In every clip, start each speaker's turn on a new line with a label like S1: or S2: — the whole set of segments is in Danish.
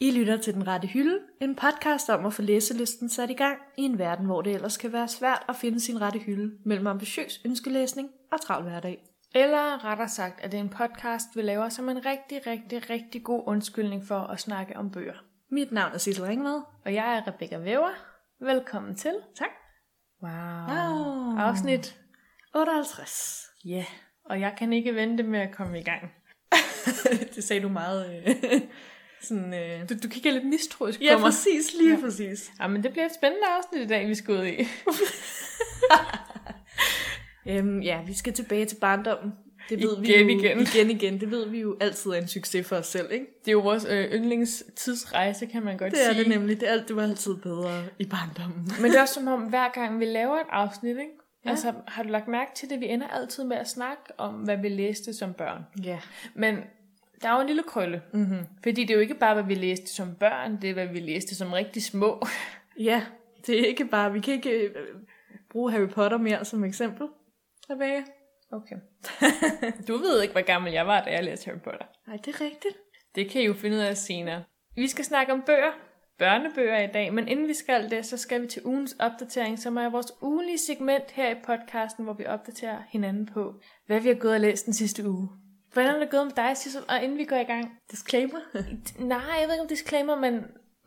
S1: lytter til Den Rette Hylde, en podcast om at få læselisten sat i gang i en verden, hvor det ellers kan være svært at finde sin rette hylde mellem ambitiøs ønskelæsning og travl hverdag.
S2: Eller rettere sagt, at det er en podcast, vi laver som en rigtig, rigtig, rigtig god undskyldning for at snakke om bøger.
S1: Mit navn er Sissel Ringvad.
S2: Og jeg er Rebecca Væver. Velkommen til.
S1: Tak.
S2: Wow.
S1: Wow.
S2: Afsnit.
S1: 58.
S2: Ja. Yeah. Og jeg kan ikke vente med at komme i gang.
S1: det sagde du meget... Øh, sådan, øh...
S2: Du, du kigger lidt mistroisk
S1: Ja,
S2: på mig.
S1: præcis, lige ja.
S2: Ja.
S1: præcis.
S2: Ja, men det bliver et spændende afsnit i dag, vi skal ud i.
S1: Øhm, ja, vi skal tilbage til barndommen. Det ved
S2: Igen,
S1: vi jo,
S2: igen.
S1: igen, igen. Det ved vi jo altid er en succes for os selv, ikke?
S2: Det er jo vores øh, yndlingstidsrejse, kan man godt
S1: Det er
S2: sige.
S1: det nemlig. Det, er alt, det var altid bedre i barndommen.
S2: Men det er også som om, hver gang vi laver et afsnit, ikke?
S1: Ja.
S2: Ja. Altså, har du lagt mærke til det? Vi ender altid med at snakke om, hvad vi læste som børn.
S1: Ja.
S2: Men der er jo en lille krølle.
S1: Mm-hmm.
S2: Fordi det er jo ikke bare, hvad vi læste som børn, det er, hvad vi læste som rigtig små.
S1: Ja, det er ikke bare... Vi kan ikke øh, bruge Harry Potter mere som eksempel. Rebecca?
S2: Okay. Du ved ikke, hvor gammel jeg var, da jeg læste Harry Potter.
S1: Nej, det er rigtigt.
S2: Det kan I jo finde ud af senere. Vi skal snakke om bøger, børnebøger i dag, men inden vi skal det, så skal vi til ugens opdatering, som er vores ugenlige segment her i podcasten, hvor vi opdaterer hinanden på, hvad vi har gået og læst den sidste uge. Hvordan er det gået med dig, Sissel? Og inden vi går i gang...
S1: Disclaimer?
S2: Nej, jeg ved ikke, om disclaimer, men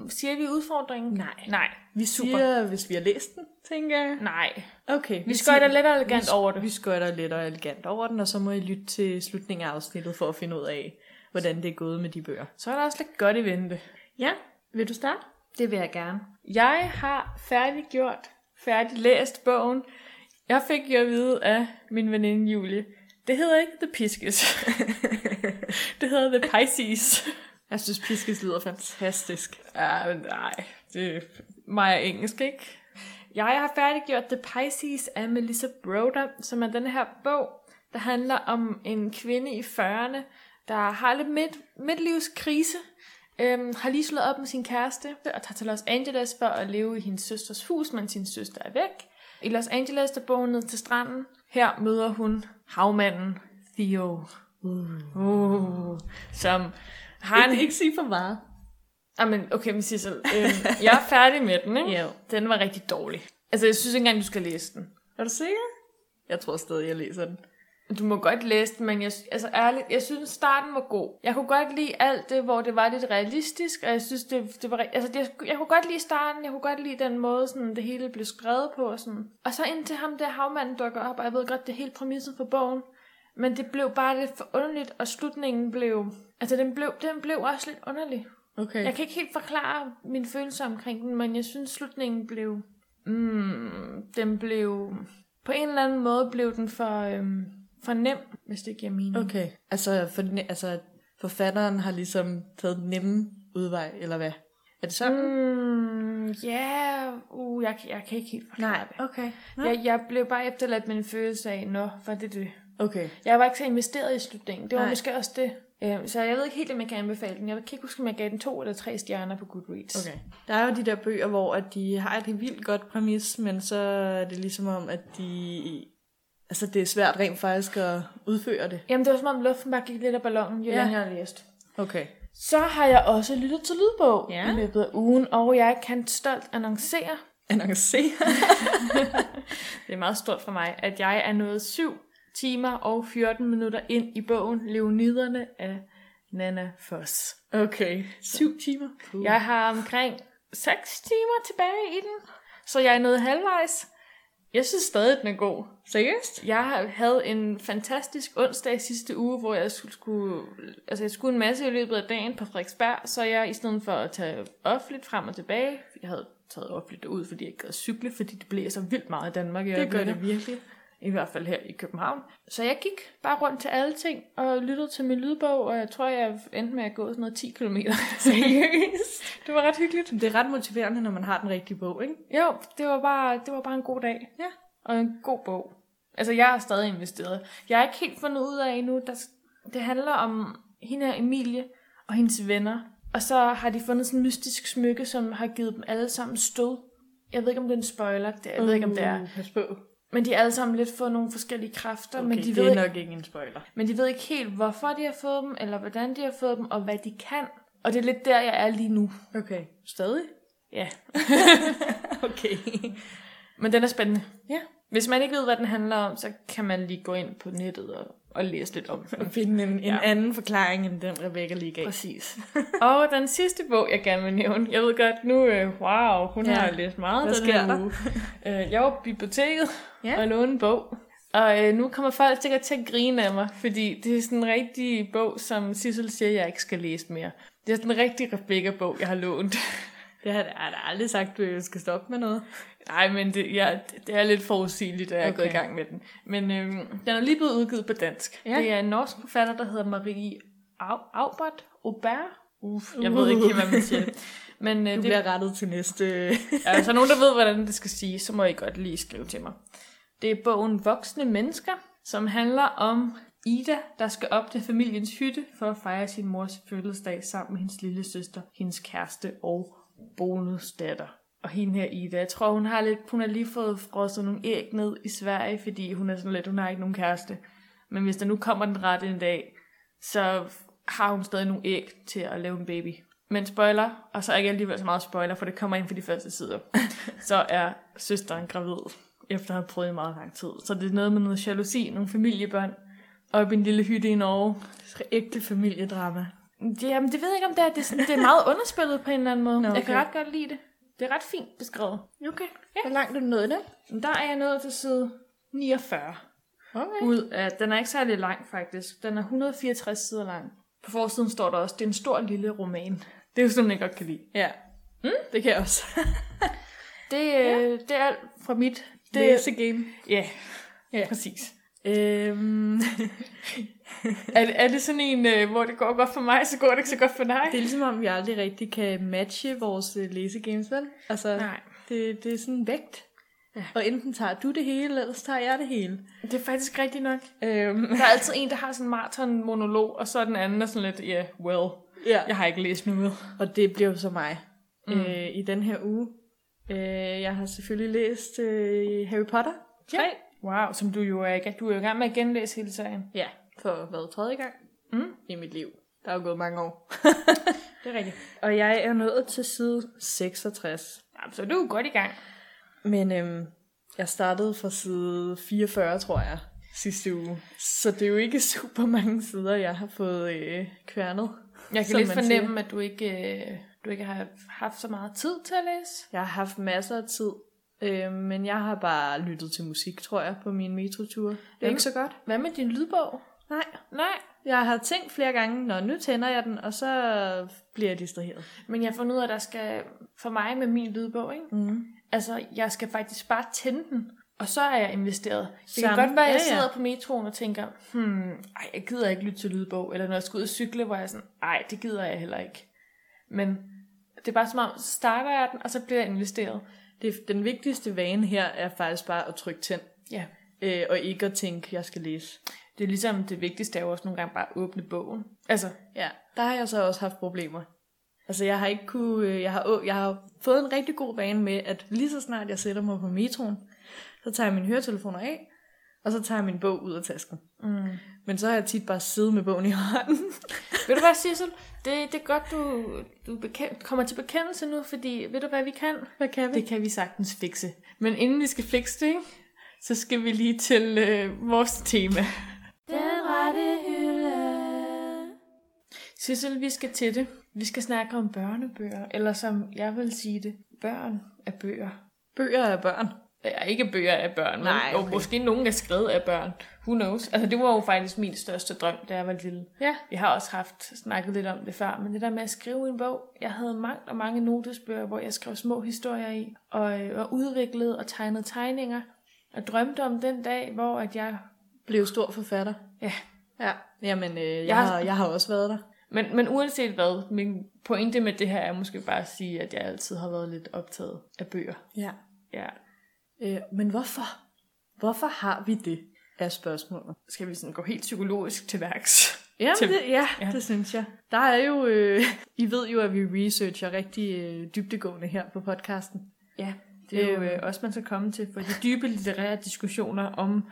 S2: siger vi udfordringen?
S1: Nej.
S2: Nej.
S1: Vi
S2: Super.
S1: siger, hvis vi har læst den, tænker jeg.
S2: Nej.
S1: Okay.
S2: Vi skøjter lidt elegant
S1: vi-
S2: over det.
S1: Vi skøjter lidt og elegant over den, og så må I lytte til slutningen af afsnittet for at finde ud af, hvordan det er gået med de bøger.
S2: Så er der også lidt godt i vente.
S1: Ja, vil du starte? Det vil jeg gerne.
S2: Jeg har færdiggjort, færdiglæst bogen. Jeg fik jo at vide af min veninde Julie. Det hedder ikke The Piskes. det hedder The Pisces.
S1: Jeg synes, Piskes lyder fantastisk.
S2: Ja, men nej, det er mig og engelsk, ikke? Jeg har færdiggjort The Pisces af Melissa Broder, som er den her bog, der handler om en kvinde i 40'erne, der har lidt midt, midtlivskrise, øhm, har lige slået op med sin kæreste og tager til Los Angeles for at leve i hendes søsters hus, mens sin søster er væk. I Los Angeles, der bor hun ned til stranden. Her møder hun havmanden Theo, uh, som har en
S1: Mm. ikke sige for meget.
S2: Jamen, okay, men Sissel, øhm, jeg er færdig med den, ikke?
S1: Ja.
S2: Den var rigtig dårlig. Altså, jeg synes ikke engang, du skal læse den.
S1: Er du sikker? Jeg tror stadig, jeg læser den.
S2: Du må godt læse den, men jeg, altså, ærligt, jeg synes, starten var god. Jeg kunne godt lide alt det, hvor det var lidt realistisk, og jeg synes, det, det var... ri- Altså, jeg, jeg kunne godt lide starten, jeg kunne godt lide den måde, sådan, det hele blev skrevet på. og Sådan. Og så indtil ham der havmanden dukker op, og jeg ved godt, det er helt præmissen for bogen. Men det blev bare lidt for underligt, og slutningen blev... Altså, den blev, den blev også lidt underlig.
S1: Okay.
S2: Jeg kan ikke helt forklare mine følelser omkring den, men jeg synes slutningen blev... Mm, den blev... På en eller anden måde blev den for, øhm, for nem, hvis det giver mening.
S1: Okay. Altså, for, altså, forfatteren har ligesom taget den nemme udvej, eller hvad? Er det sådan?
S2: Mm, ja, uh, jeg, kan- jeg kan ikke helt forklare det.
S1: Mm, okay.
S2: Jeg, jeg blev bare efterladt med en følelse af, nå, var det det?
S1: Okay.
S2: Jeg var ikke så investeret i slutningen. Det var
S1: Nej.
S2: Nej. måske også det. Øhm, så jeg ved ikke helt, om jeg kan anbefale den. Jeg kan ikke huske, om jeg gav den to eller tre stjerner på Goodreads.
S1: Okay. Der er jo de der bøger, hvor at de har et vildt godt præmis, men så er det ligesom om, at de... Altså, det er svært rent faktisk at udføre det.
S2: Jamen, det var som om luften bare gik lidt af ballonen, jo
S1: Ja.
S2: ja. længere jeg læste.
S1: Okay.
S2: Så har jeg også lyttet til lydbog
S1: Ja.
S2: ja. i løbet af ugen, og jeg kan stolt annoncere,
S1: Annoncere.
S2: det er meget stort for mig, at jeg er nået 7 timer og 14 minutter ind i bogen Leoniderne af Nana Foss.
S1: Okay. Syv timer. Cool.
S2: Jeg har omkring 6 timer tilbage i den, så jeg er nået halvvejs. Jeg synes stadig, den er god.
S1: Seriøst?
S2: Jeg havde en fantastisk onsdag sidste uge, hvor jeg skulle- skulle, altså jeg skulle en masse i løbet af dagen på Frederiksberg, så jeg i stedet for at tage offentligt frem og tilbage, jeg havde taget offentligt ud, fordi jeg ikke gad cykle, fordi det bliver så vildt meget i Danmark. i
S1: Det gør
S2: øjeblikket.
S1: det virkelig.
S2: I hvert fald her i København. Så jeg gik bare rundt til alle ting og lyttede til min lydbog, og jeg tror, jeg endte med at gå sådan noget 10 km. Seriøst? Det var ret hyggeligt.
S1: Det er ret motiverende, når man har den rigtige bog, ikke?
S2: Jo, det var bare, det var bare en god dag.
S1: Ja.
S2: Og en god bog. Altså, jeg er stadig investeret. Jeg har ikke helt fundet ud af endnu, der, det handler om hende her Emilie og hendes venner. Og så har de fundet sådan en mystisk smykke, som har givet dem alle sammen stød. Jeg ved ikke, om det er en spoiler. Det, jeg ved ikke, om det er.
S1: Mm, Pas på.
S2: Men de har alle sammen lidt fået nogle forskellige kræfter.
S1: Okay,
S2: men, de
S1: det
S2: ved,
S1: er nok ikke en spoiler.
S2: men de ved ikke helt, hvorfor de har fået dem, eller hvordan de har fået dem, og hvad de kan. Og det er lidt der, jeg er lige nu.
S1: Okay. Stadig?
S2: Ja.
S1: Okay.
S2: Men den er spændende.
S1: Ja.
S2: Hvis man ikke ved, hvad den handler om, så kan man lige gå ind på nettet og, og læse lidt om den.
S1: Og finde en, en
S2: Ja.
S1: ja. anden forklaring, end den Rebecca lige gav.
S2: Præcis. og den sidste bog, jeg gerne vil nævne. Jeg ved godt, nu, øh, wow, hun ja.
S1: Ja.
S2: har læst meget.
S1: Hvad
S2: den her
S1: sker der?
S2: uge. Øh, jeg var på biblioteket ja.
S1: Ja.
S2: og lånte en bog. Og øh, nu kommer folk sikkert til at grine af mig, fordi det er sådan en rigtig bog, som Sissel siger, jeg ikke skal læse mere. Det er sådan en rigtig Rebecca-bog, jeg har lånt.
S1: Det har jeg da- jeg har da aldrig sagt, at du skal stoppe med noget.
S2: Nej, men det, ja, det er lidt forudsigeligt, at jeg okay. er gået i
S1: Okay.
S2: gang med den. Men øhm, den er lige blevet udgivet på dansk.
S1: Ja.
S2: Ja. Det er en norsk forfatter, der hedder Marie Au- Aubert Aubert. Uff, jeg ved ikke, helt, hvad man siger. det. Men øh,
S1: Du
S2: det,
S1: bliver rettet til næste...
S2: er altså nogen, der ved, hvordan det skal sige, så må I godt lige skrive til mig. Det er bogen Voksne Mennesker, som handler om Ida, der skal op til familiens hytte for at fejre sin mors fødselsdag sammen med hendes lille søster, hendes kæreste og bonusdatter. Og hende her Ida, jeg tror hun har lidt, hun har lige fået frosset nogle æg ned i Sverige, fordi hun er sådan lidt, hun har ikke nogen kæreste. Men hvis der nu kommer den rette en dag, så har hun stadig nogle æg til at lave en baby. Men spoiler, og så er ikke alligevel så meget spoiler, for det kommer ind på de første sider. Så er søsteren gravid, efter at have prøvet i meget lang tid. Så det er noget med noget jalousi, nogle familiebånd, op i en lille hytte i Norge.
S1: Ægte familiedrama.
S2: Det- Jamen, det ved jeg ikke, om det er. Det er, sådan, det er meget underspillet på en eller anden måde. Nå,
S1: Nå,
S2: okay. Jeg kan
S1: okay.
S2: ret godt lide det. Det er ret fint beskrevet.
S1: Okay. Ja. Hvor langt er du nået i det?
S2: Men Der er jeg nået til side 49.
S1: Okay.
S2: Ud af, den er ikke særlig lang, faktisk. Den er 164 sider lang. På forsiden står der også, det er en stor lille roman. Det er jo sådan, jeg godt kan lide.
S1: Ja. Mm? Det kan jeg også.
S2: Det, ja. det er alt fra mit.
S1: Læse game.
S2: ja. ja,
S1: Ja.
S2: præcis.
S1: Øhm,
S2: Er, er det sådan en, øh, hvor det går godt for mig, så går det ikke så godt for dig?
S1: det er ligesom om, vi aldrig rigtig kan matche vores øh, læsegames, vel? Altså,
S2: Nej.
S1: Det, det er sådan en vægt. Ja. Og enten tager du det hele, eller så tager jeg det hele.
S2: Det er faktisk rigtigt nok.
S1: Øhm,
S2: Der er altid en, der har sådan en maraton-monolog, og så er den anden der sådan lidt, ja, yeah, well,
S1: ja.
S2: jeg har ikke læst noget.
S1: Og det blev så mig mm. øh, i den her uge. Øh, jeg har selvfølgelig læst øh, Harry Potter 3.
S2: Ja. Wow, som du jo er, ikke- du er jo i gang med at genlæse hele serien.
S1: Ja, for hvad, tredje gang
S2: Mm.
S1: i mit liv. Der er jo gået mange år.
S2: Det er rigtigt.
S1: Og jeg er nået til side 66.
S2: Jamen, så er du er godt i gang.
S1: Men øhm, jeg startede fra side 44, tror jeg, sidste uge. Så det er jo ikke super mange sider, jeg har fået øh, kværnet.
S2: Jeg kan
S1: Som
S2: lidt
S1: man
S2: fornemme, at du ikke, øh, du ikke har haft så meget tid til at læse.
S1: Jeg har haft masser af tid, øh, men jeg har bare lyttet til musik, tror jeg, på min metrotur. Det er
S2: Jamen.
S1: ikke så godt.
S2: Hvad med din lydbog?
S1: Nej,
S2: Nej,
S1: Jeg har tænkt flere gange, når nu tænder jeg den, og så bliver jeg distraheret.
S2: men jeg har fundet ud af, at der skal, for mig med min lydbog, ikke?
S1: Mm.
S2: Altså, jeg skal faktisk bare tænde den, og så er jeg investeret. Det
S1: Samme.
S2: kan godt være, at jeg
S1: Ja, ja.
S2: sidder på metroen og tænker, hmm, ej, jeg gider ikke lytte til lydbog. Eller når jeg skal ud og cykle, hvor jeg er sådan, ej, det gider jeg heller ikke. Men det er bare som om, så starter jeg den, og så bliver jeg investeret.
S1: Det, den vigtigste vane her er faktisk bare at trykke tænd,
S2: Ja,
S1: øh, og ikke at tænke, jeg skal læse.
S2: det er ligesom det vigtigste er jo også nogle gange bare at åbne bogen. Altså,
S1: Ja, der har jeg så også haft problemer. Altså, jeg har ikke kunne, øh, jeg har, å- jeg har fået en rigtig god vane med, at lige så snart jeg sætter mig på metroen, så tager jeg mine høretelefoner af, og så tager jeg min bog ud af tasken.
S2: mm.
S1: Men så har jeg tit bare siddet med bogen i hånden.
S2: Ved du hvad, Sissel? Det, det er godt, du, du bekendt, kommer til bekendelse nu, fordi ved du hvad vi kan?
S1: Hvad kan vi?
S2: Det kan vi sagtens fikse. Men inden vi skal fikse det, ikke? så skal vi lige til øh, vores tema. Den rette hylde. Sissel, vi skal til det. Vi skal snakke om børnebøger, eller som jeg vil sige det, børn af bøger.
S1: Bøger af børn.
S2: Ja, ikke bøger af børn, men
S1: Nej,
S2: jo,
S1: okay.
S2: måske nogen er skrevet af børn. Who knows? Altså, det var jo faktisk min største drøm, da jeg var lille.
S1: Ja.
S2: Vi har også haft snakket lidt om det før, men det der med at skrive en bog, jeg havde mange og mange notesbøger, hvor jeg skrev små historier i, og, øh, og udviklede og tegnede tegninger, og drømte om den dag, hvor at jeg...
S1: Blev stor forfatter.
S2: Ja,
S1: Ja. Jamen, øh, jeg,
S2: Jeg
S1: jeg,
S2: har-
S1: har, jeg har også været der.
S2: men, men uanset hvad, min pointe med det her er måske bare at sige, at jeg altid har været lidt optaget af bøger.
S1: Ja.
S2: Ja.
S1: Øh, men hvorfor? Hvorfor har vi det, er spørgsmålet.
S2: Skal vi sådan gå helt psykologisk til værks?
S1: Jamen,
S2: Til-
S1: det, ja,
S2: ja.
S1: ja, det synes jeg. Der er jo, øh, I ved jo, at vi researcher rigtig øh, dybdegående her på podcasten.
S2: Ja, det er jo
S1: Øhm.
S2: øh, også, man skal komme til for de dybe litterære diskussioner om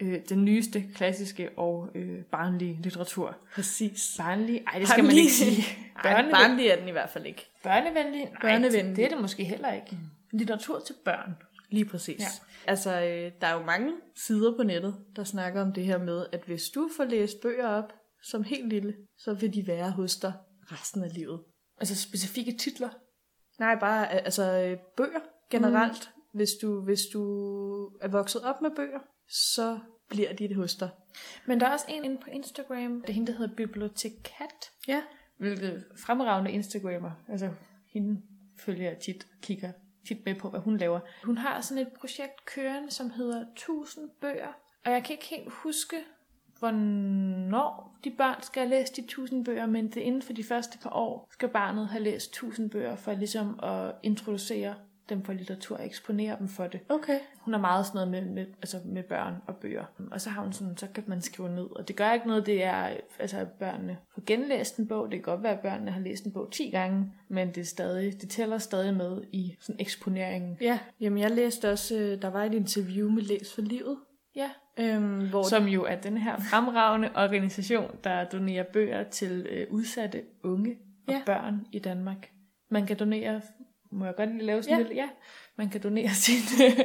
S2: øh, den nyeste klassiske og øh, barnlige litteratur.
S1: Præcis.
S2: Barnlige? Ej, det skal man
S1: Barnlige.
S2: ikke sige. Børneven-
S1: Børneven... barnlig er den i hvert fald ikke.
S2: Børnevenlig? Nej,
S1: Børnevenlig.
S2: det Mm. er det måske heller ikke. Litteratur til børn.
S1: Lige præcis.
S2: Ja.
S1: Ja. Altså, øh, der er jo mange sider på nettet, der snakker om det her med, at hvis du får læst bøger op som helt lille, så vil de være hos dig resten af livet.
S2: Altså specifikke titler.
S1: Nej, bare øh, altså øh, bøger generelt. Mm. Hvis, du, hvis du er vokset op med bøger, så bliver de det hos dig.
S2: Men der er også en inde på Instagram, det er hende, der hedder Bibliotekat,
S1: Ja.
S2: hvilket fremragende Instagrammer. Altså, hende følger jeg tit og kigger tit med på, hvad hun laver. Hun har sådan et projekt kørende, som hedder 1000 bøger, og jeg kan ikke helt huske, hvornår de børn skal have læst de 1000 bøger, men det er inden for de første par år, skal barnet have læst 1000 bøger for ligesom at introducere dem for litteratur og eksponere dem for det.
S1: Okay.
S2: Hun er meget sådan noget med, med, altså med børn og bøger. Og så har hun sådan, så kan man skrive ned. Og det gør ikke noget, det er, altså at børnene får genlæst en bog. Det kan godt være, at børnene har læst en bog 10 gange, men det, er stadig, det tæller stadig med i sådan eksponeringen.
S1: Ja, jamen jeg læste også, øh, der var et interview med Læs for Livet,
S2: Ja,
S1: øhm, hvor
S2: som jo er den her fremragende organisation, der donerer bøger til øh, udsatte unge og
S1: Ja.
S2: børn i Danmark. Man kan donere, må jeg godt lige lave sådan
S1: Ja.
S2: ja. lidt, ja, man kan donere sin, øh,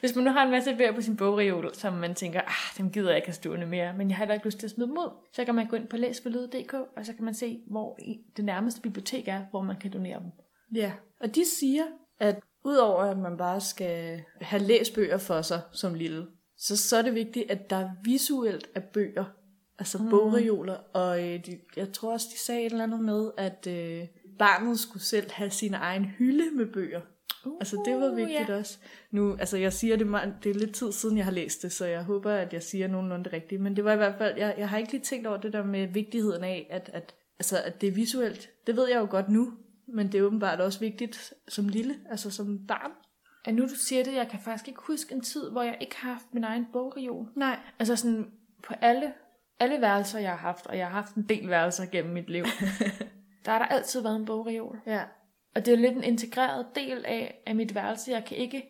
S2: hvis man nu har en masse bøger på sin bogreol, som man tænker, ah, dem gider jeg ikke have stående mere, men jeg har heller ikke lyst til at smide dem ud, så kan man gå ind på læsforlyd.dk, og så kan man se, hvor i- det nærmeste bibliotek er, hvor man kan donere dem.
S1: Ja, og de siger, at udover at man bare skal have læst bøger for sig som lille, så, så er det vigtigt, at der visuelt er bøger, altså mm. bogreoler, og øh, de, jeg tror også, de sagde et eller andet med, at øh, barnet skulle selv have sin egen hylde med bøger. Uh, altså det var vigtigt
S2: ja.
S1: også. Nu, altså jeg siger det, meget, det er lidt tid siden, jeg har læst det, så jeg håber, at jeg siger nogenlunde det rigtige, men det var i hvert fald, jeg, jeg har ikke lige tænkt over det der med vigtigheden af, at, at, altså, at det er visuelt. Det ved jeg jo godt nu, men det er åbenbart også vigtigt som lille, altså som barn.
S2: Og nu du siger det, jeg kan faktisk ikke huske en tid, hvor jeg ikke har haft min egen bogreol.
S1: Nej.
S2: Altså sådan på alle, alle værelser, jeg har haft, og jeg har haft en del værelser gennem mit liv, der har der altid været en bogreol.
S1: Ja.
S2: Og det er lidt en integreret del af, af mit værelse. Jeg kan ikke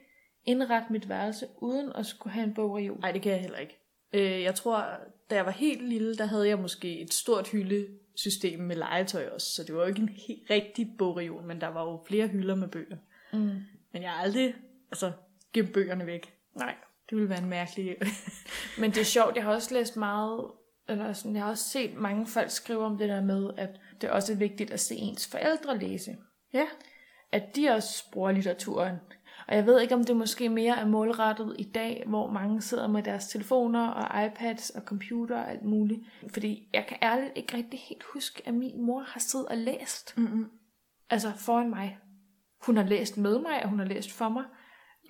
S2: indrette mit værelse uden at skulle have en bogreol.
S1: Nej, det kan jeg heller ikke. Øh, jeg tror, da jeg var helt lille, der havde jeg måske et stort hyldesystem med legetøj også, så det var jo ikke en helt rigtig bogreol, men der var jo flere hylder med bøger.
S2: Mm.
S1: Men jeg har aldrig altså, gemt bøgerne væk.
S2: Nej.
S1: Det ville være en mærkelig...
S2: Men det er sjovt, jeg har også læst meget, eller sådan, jeg har også set mange folk skrive om det der med, at det også er vigtigt at se ens forældre læse.
S1: ja.
S2: at de også bruger litteraturen. Og jeg ved ikke, om det måske mere er målrettet i dag, hvor mange sidder med deres telefoner og iPads og computer og alt muligt. Fordi jeg kan ærligt ikke rigtig helt huske, at min mor har siddet og læst.
S1: Mm-mm.
S2: Altså foran mig. Hun har læst med mig, og hun har læst for mig.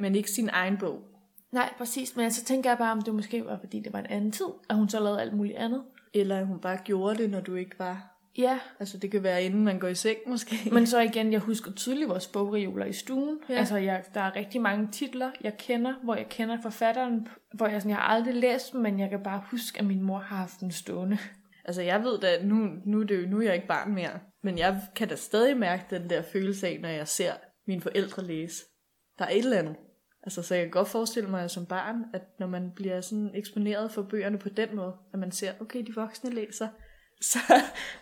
S1: Men ikke sin egen bog.
S2: Nej, præcis, men så tænker jeg bare, om det måske var, fordi det var en anden tid, og hun så lavede alt muligt andet.
S1: Eller hun bare gjorde det, når du ikke var.
S2: Ja,
S1: Altså, det kan være, inden man går i seng, måske.
S2: Men så igen, jeg husker tydeligt vores bogreoler i stuen. Ja.
S1: Ja.
S2: Altså, jeg, der er rigtig mange titler, jeg kender, hvor jeg kender forfatteren, hvor jeg, sådan, jeg har aldrig læst dem, men jeg kan bare huske, at min mor har haft den stående.
S1: Altså, jeg ved da, nu, nu, er det jo, nu er jeg ikke barn mere, men jeg kan da stadig mærke den der følelse af, når jeg ser mine forældre læse. Der er et eller andet. Altså, så jeg kan godt forestille mig som barn, at når man bliver sådan eksponeret for bøgerne på den måde, at man ser, okay, de voksne læser, så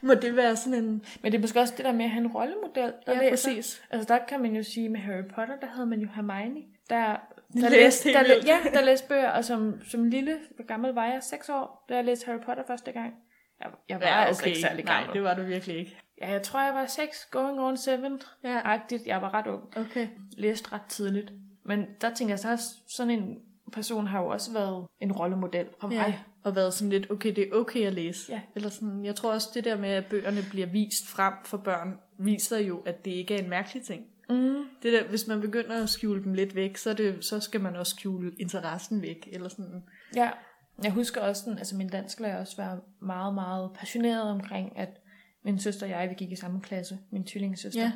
S1: må det være sådan en...
S2: Men det er måske også det der med at have en rollemodel, der læser.
S1: Ja, præcis.
S2: Altså, der kan man jo sige, med Harry Potter, der havde man jo Hermione, der... Der
S1: Læste
S2: læste,
S1: helt
S2: der, læ-
S1: vildt.
S2: ja, der læste bøger, og som, som lille, hvor gammel var jeg? Seks år, da jeg læste Harry Potter første gang. Jeg, jeg var ja, okay. altså ikke særlig gammel.
S1: Nej, det var du virkelig ikke.
S2: Ja, jeg tror, jeg var 6, going on 7, ja. agtigt. Jeg var ret ung.
S1: Okay.
S2: læste ret tidligt. Men der tænker jeg så også, sådan en person har jo også været en rollemodel for mig.
S1: Ja.
S2: Ja.
S1: Og været sådan lidt, okay, det er okay at læse.
S2: Ja.
S1: Eller sådan, jeg tror også, det der med, at bøgerne bliver vist frem for børn, viser jo, at det ikke er en mærkelig ting.
S2: Mm.
S1: Det der, hvis man begynder at skjule dem lidt væk, så, er det, så skal man også skjule interessen væk. Eller sådan.
S2: ja. Jeg husker også, sådan, altså min dansklærer også var meget, meget passioneret omkring, at min søster og jeg, vi gik i samme klasse, min tvillingesøster,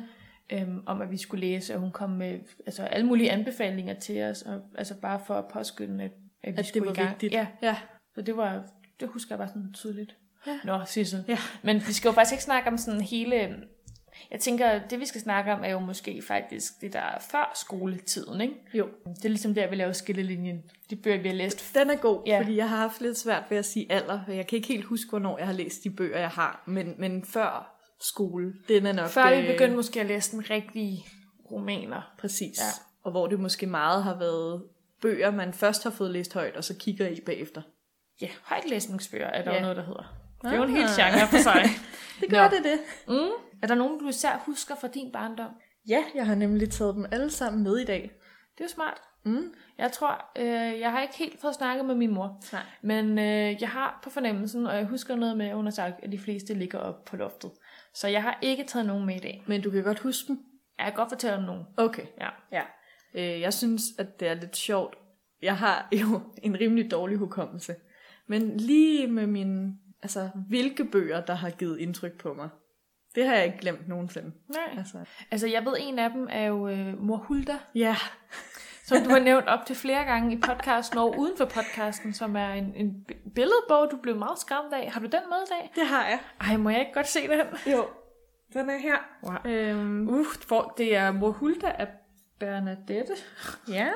S1: Ja.
S2: øhm, om at vi skulle læse, og hun kom med altså, alle mulige anbefalinger til os, og, altså bare for at påskynde, at, at vi
S1: At det
S2: skulle
S1: var
S2: i gang.
S1: vigtigt.
S2: Ja,
S1: ja.
S2: Så det var, det husker jeg bare sådan tydeligt.
S1: Ja.
S2: Nå, Sissel.
S1: Ja.
S2: Men vi skal jo faktisk ikke snakke om sådan hele... Jeg tænker, det vi skal snakke om, er jo måske faktisk det, der er før skoletiden, ikke?
S1: Jo.
S2: Det er ligesom der, vi laver skillelinjen. De bøger, vi har læst.
S1: Den er god,
S2: Ja.
S1: ja. fordi jeg har haft lidt svært ved at sige alder. for Jeg kan ikke helt huske, hvornår jeg har læst de bøger, jeg har. Men, men før skole. Den er nok... øh,
S2: Før vi begyndte måske at læse den rigtige romaner.
S1: Præcis.
S2: Ja.
S1: Ja. Og hvor det måske meget har været bøger, man først har fået læst højt, og så kigger i bagefter.
S2: Ja, højtlæsningsbøger er der
S1: Ja.
S2: jo noget, der hedder. Det er jo en
S1: Ah.
S2: helt genre for sig.
S1: Det
S2: gør
S1: det det.
S2: mm. Er der nogen, du især husker fra din barndom?
S1: Ja, jeg har nemlig taget dem alle sammen med i dag.
S2: Det er jo smart.
S1: Mm.
S2: Jeg tror, øh, jeg har ikke helt fået snakket med min mor,
S1: Nej.
S2: men øh, jeg har på fornemmelsen, og jeg husker noget med, at hun har sagt, at de fleste ligger oppe på loftet. Så jeg har ikke taget nogen med i dag.
S1: Men du kan godt huske dem.
S2: Jeg kan godt fortælle om nogen.
S1: Okay.
S2: Ja.
S1: Ja. Øh, jeg synes, at det er lidt sjovt. Jeg har jo en rimelig dårlig hukommelse. Men lige med min... Altså, hvilke bøger, der har givet indtryk på mig. Det har jeg ikke glemt nogensinde.
S2: Nej.
S1: Altså,
S2: Altså, jeg ved, en af dem er jo øh, mor Hulda,
S1: ja.
S2: som du har nævnt op til flere gange i podcasten og uden for podcasten, som er en, en bi- billedbog, du blev meget skræmt af. Har du den med i dag?
S1: Det har jeg.
S2: Ej, må jeg ikke godt se den?
S1: Jo. Den er her.
S2: Wow.
S1: Øhm,
S2: Uh, for, det er mor Hulda af Bernadette.
S1: ja.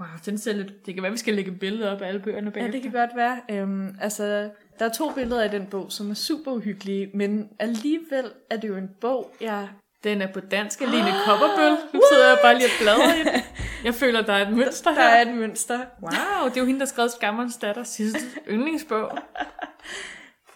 S2: Wow, den ser lidt... Det kan være, vi skal lægge billeder op af alle bøgerne
S1: Ja,
S2: bagefter.
S1: det kan godt være. Øhm, altså, der er to billeder i den bog, som er super uhyggelige, men alligevel er det jo en bog, jeg...
S2: Den er på dansk alene kopperbøl. Nu sidder jeg bare lige og bladrer i den. Jeg føler, der er et mønster
S1: Der
S2: her.
S1: er et mønster.
S2: Wow, det er jo hende, der skrev Skammerens datter sidste yndlingsbog.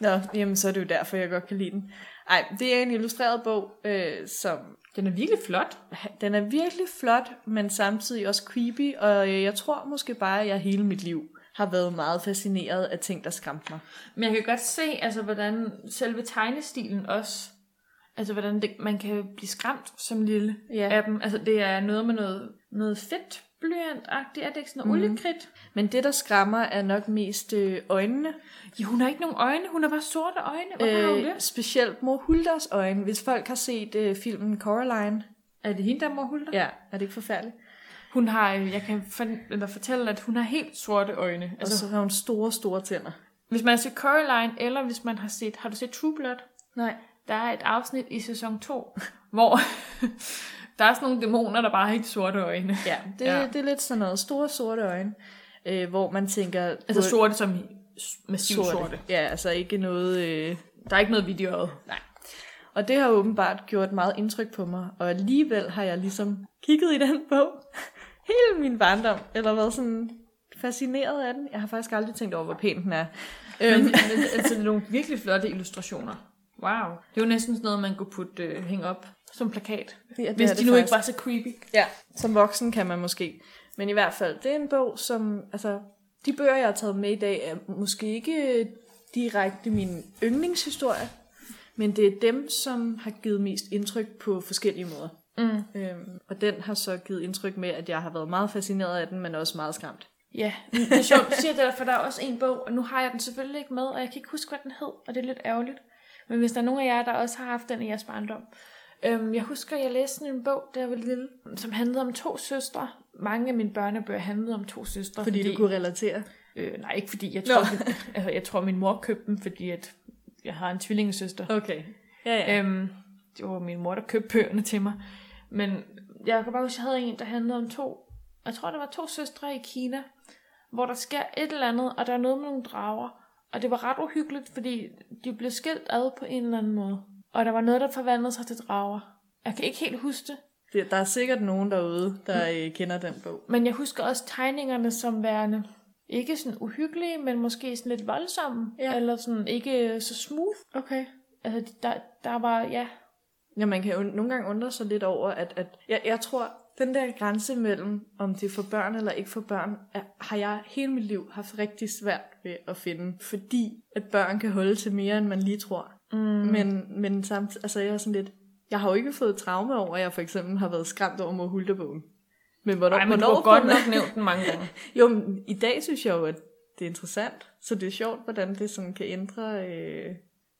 S1: Nå, jamen, så er det jo derfor, jeg godt kan lide den. Ej, det er en illustreret bog, øh, som...
S2: Den er virkelig flot.
S1: Den er virkelig flot, men samtidig også creepy, og øh, jeg tror måske bare, at jeg hele mit liv har været meget fascineret af ting, der skræmte mig.
S2: Men jeg kan godt se, altså, hvordan selve tegnestilen også... Altså, hvordan det, man kan blive skræmt som lille
S1: Ja.
S2: af dem. Altså, det er noget med noget, noget fedt blyant-agtigt. Er det ikke sådan noget mm. oliekridt?
S1: Men det, der skræmmer, er nok mest øh, øjnene.
S2: Ja, hun har ikke nogen øjne. Hun har bare sorte øjne. Hvorfor øh, har hun det?
S1: specielt mor Hulders øjne. Hvis folk har set øh, filmen Coraline,
S2: Er det hende, der er mor Hulda?
S1: Ja, er det ikke forfærdeligt?
S2: Hun har, øh, jeg kan forn- eller fortælle, at hun har helt sorte øjne.
S1: Og
S2: Altså,
S1: så har hun store, store tænder.
S2: hvis man har set Coraline, eller hvis man har set, har du set True Blood?
S1: Nej.
S2: Der er et afsnit i sæson 2, hvor der er sådan nogle dæmoner, der bare har helt sorte øjne.
S1: Ja, det, ja. det er lidt sådan noget. Store, sorte øjne, øh, hvor man tænker...
S2: Altså sorte som i s- massivt sorte. sorte.
S1: Ja, altså ikke noget... Øh...
S2: Der er ikke noget video af. Nej.
S1: Og det har åbenbart gjort meget indtryk på mig, og alligevel har jeg ligesom kigget i den bog hele min barndom, eller været sådan fascineret af den. Jeg har faktisk aldrig tænkt over, hvor pæn den er.
S2: Men,
S1: Øhm,
S2: men, altså, det er nogle virkelig flotte illustrationer. Wow. Det er jo næsten sådan noget, man kunne putte, øh, hænge op som plakat.
S1: ja, det
S2: Hvis
S1: er
S2: de
S1: det
S2: nu
S1: faktisk.
S2: ikke var så creepy.
S1: Ja, som voksen kan man måske. Men i hvert fald, det er en bog, som... Altså, de bøger, jeg har taget med i dag, er måske ikke direkte min yndlingshistorie, men det er dem, som har givet mest indtryk på forskellige måder.
S2: Mm.
S1: Øhm, og den har så givet indtryk med, at jeg har været meget fascineret af den, men også meget skræmt.
S2: Ja, det er sjovt, du siger det, der, for der er også en bog, og nu har jeg den selvfølgelig ikke med, og jeg kan ikke huske, hvad den hed, og det er lidt ærgerligt. Men hvis der er nogen af jer, der også har haft den i jeres barndom. Øhm, jeg husker, jeg læste sådan en bog, da jeg var lille, som handlede om to søstre. Mange af mine børnebøger handlede om to søstre.
S1: Fordi, fordi du kunne relatere.
S2: Øh, nej, ikke fordi. Jeg
S1: Nå.
S2: tror, at, altså, jeg tror, min mor købte dem, fordi at jeg har en tvillingesøster.
S1: Okay. Ja, ja.
S2: Øhm, det var min mor, der købte bøgerne til mig. Men jeg kan bare huske, at jeg havde en, der handlede om to, jeg tror, der var to søstre i Kina, hvor der sker et eller andet, og der er noget med nogle drager. Og det var ret uhyggeligt, fordi de blev skilt ad på en eller anden måde. Og der var noget, der forvandlede sig til drager. Jeg kan ikke helt huske det,
S1: Det, der er sikkert nogen derude, der øh, kender den bog.
S2: men jeg husker også tegningerne som værende ikke sådan uhyggelige, men måske sådan lidt voldsomme,
S1: Ja.
S2: ja. eller sådan ikke øh, så smooth.
S1: Okay.
S2: Altså, der, der var, ja,
S1: Ja, man kan jo nogle gange undre sig lidt over, at, at jeg, jeg tror, den der grænse mellem, om det er for børn eller ikke for børn, er, har jeg hele mit liv haft rigtig svært ved at finde, fordi at børn kan holde til mere, end man lige tror. Mm. Men, men samt, altså jeg er sådan lidt, jeg har jo ikke fået traume over, at jeg for eksempel har været skræmt over mod hultebogen. Men hvornår,
S2: Ej, men du
S1: hvornår
S2: har godt
S1: får
S2: nok
S1: man-
S2: nævnt den mange gange.
S1: Jo, men i dag synes jeg jo, at det er interessant, så det er sjovt, hvordan det sådan kan ændre... Øh...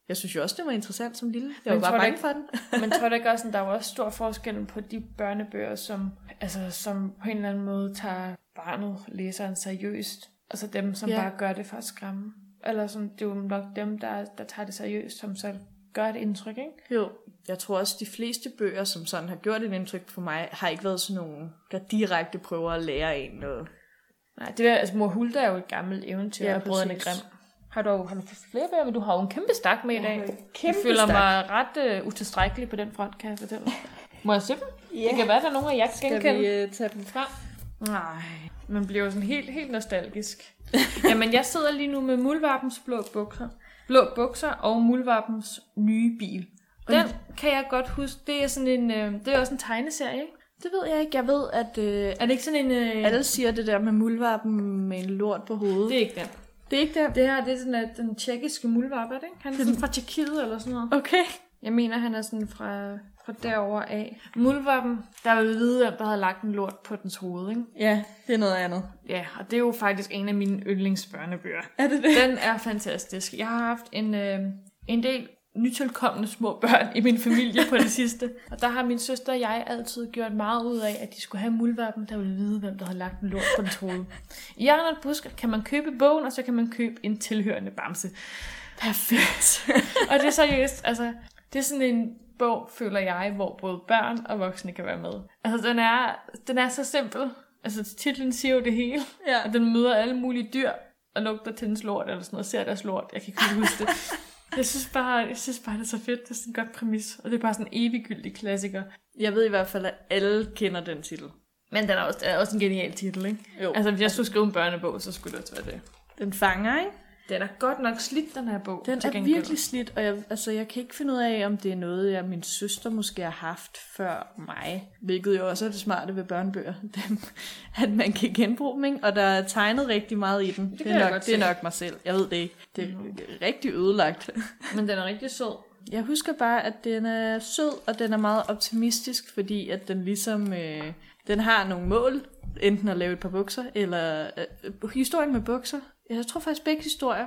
S1: Jeg synes jo også, det var interessant som lille. Jeg
S2: Men
S1: var
S2: tror
S1: bare
S2: du
S1: bange
S2: ikke-
S1: for den.
S2: Men tror du ikke også, at der er jo også stor forskel på de børnebøger, som, altså, som på en eller anden måde tager barnet, læseren seriøst, og så dem, som
S1: Ja.
S2: ja. bare gør det for at skræmme? Eller sådan, det er jo nok dem, der, der tager det seriøst, som så gør et indtryk, ikke?
S1: Jo, jeg tror også, de fleste bøger, som sådan har gjort et indtryk på mig, har ikke været sådan nogle, der direkte prøver at lære en noget.
S2: Nej, det der, altså mor Hulda er jo et gammelt eventyr
S1: Ja,
S2: ja, af Brødrene
S1: præcis.
S2: Grimm. Har du, har du flere bøger, men du har jo en kæmpe stak med i
S3: Jeg
S2: dag.
S3: har en
S2: jeg
S3: kæmpe
S2: føler
S3: stak.
S2: mig ret uh, utilstrækkelig på den front, kan jeg fortælle. Må jeg se dem?
S3: Ja.
S2: Det kan være, der er nogen af jer kan
S1: Skal
S2: genkende.
S1: vi øh, tage dem frem?
S2: Nej, man bliver jo sådan helt, helt nostalgisk. Jamen, jeg sidder lige nu med Muldvarpens blå bukser, blå bukser og Muldvarpens nye bil. Den kan jeg godt huske. Det er sådan en, øh, det er også en tegneserie, ikke?
S1: Det ved jeg ikke. Jeg ved, at øh,
S2: Er det ikke sådan en... Øh,
S1: alle siger det der med muldvarpen med en lort på hovedet.
S2: Det er ikke den.
S1: det er ikke det.
S2: Det her, det er sådan at den tjekkiske muldvarp, er det ikke? Han er sådan fra Tjekkiet eller sådan noget.
S1: Okay.
S2: Jeg mener, han er sådan fra, fra derover af. Muldvarpen, der vil vide, hvem der havde lagt en lort på dens hoved, ikke?
S1: Ja, det er noget andet.
S2: Ja, og det er jo faktisk en af mine yndlingsbørnebøger.
S1: Er det det?
S2: Den er fantastisk. Jeg har haft en, øh, en del nytilkommende små børn i min familie på det sidste. Og der har min søster og jeg altid gjort meget ud af, at de skulle have muldvarpen, der ville vide, hvem der havde lagt en lort på dens hoved. I Arnold Busk kan man købe bogen, og så kan man købe en tilhørende bamse. Perfekt. og det er seriøst, altså, det er sådan en bog, føler jeg, hvor både børn og voksne kan være med. Altså, den er, den er så simpel. Altså, titlen siger jo det hele.
S1: Ja.
S2: Og den møder alle mulige dyr, og lugter til dens lort, eller sådan noget, ser deres lort. Jeg kan ikke helt huske det. Jeg synes, bare, jeg synes bare, det er så fedt. Det er sådan en godt præmis. Og det er bare sådan en eviggyldig klassiker.
S1: Jeg ved i hvert fald, at alle kender den titel.
S2: Men den er også, er også en genial titel, ikke?
S1: Jo.
S2: Altså, hvis jeg skulle skrive en børnebog, så skulle det også være det.
S1: Den fanger, ikke?
S2: Den er godt nok slidt, den her bog.
S1: Den
S2: til
S1: er
S2: gengæld.
S1: virkelig slidt, og jeg, altså, jeg kan ikke finde ud af, om det er noget, jeg min søster måske har haft før mig. Hvilket jo også er det smarte ved børnebøger, dem, at man kan genbruge dem, ikke? og der er tegnet rigtig meget i den. Det,
S2: kan
S1: er,
S2: jeg
S1: nok,
S2: godt
S1: det
S2: se.
S1: er nok mig selv, jeg ved det ikke. Det er rigtig ødelagt.
S2: Men den er rigtig sød.
S1: Jeg husker bare, at den er sød, og den er meget optimistisk, fordi at den ligesom, øh, den har nogle mål, enten at lave et par bukser, eller øh, historien med bukser. Jeg tror faktisk, begge historier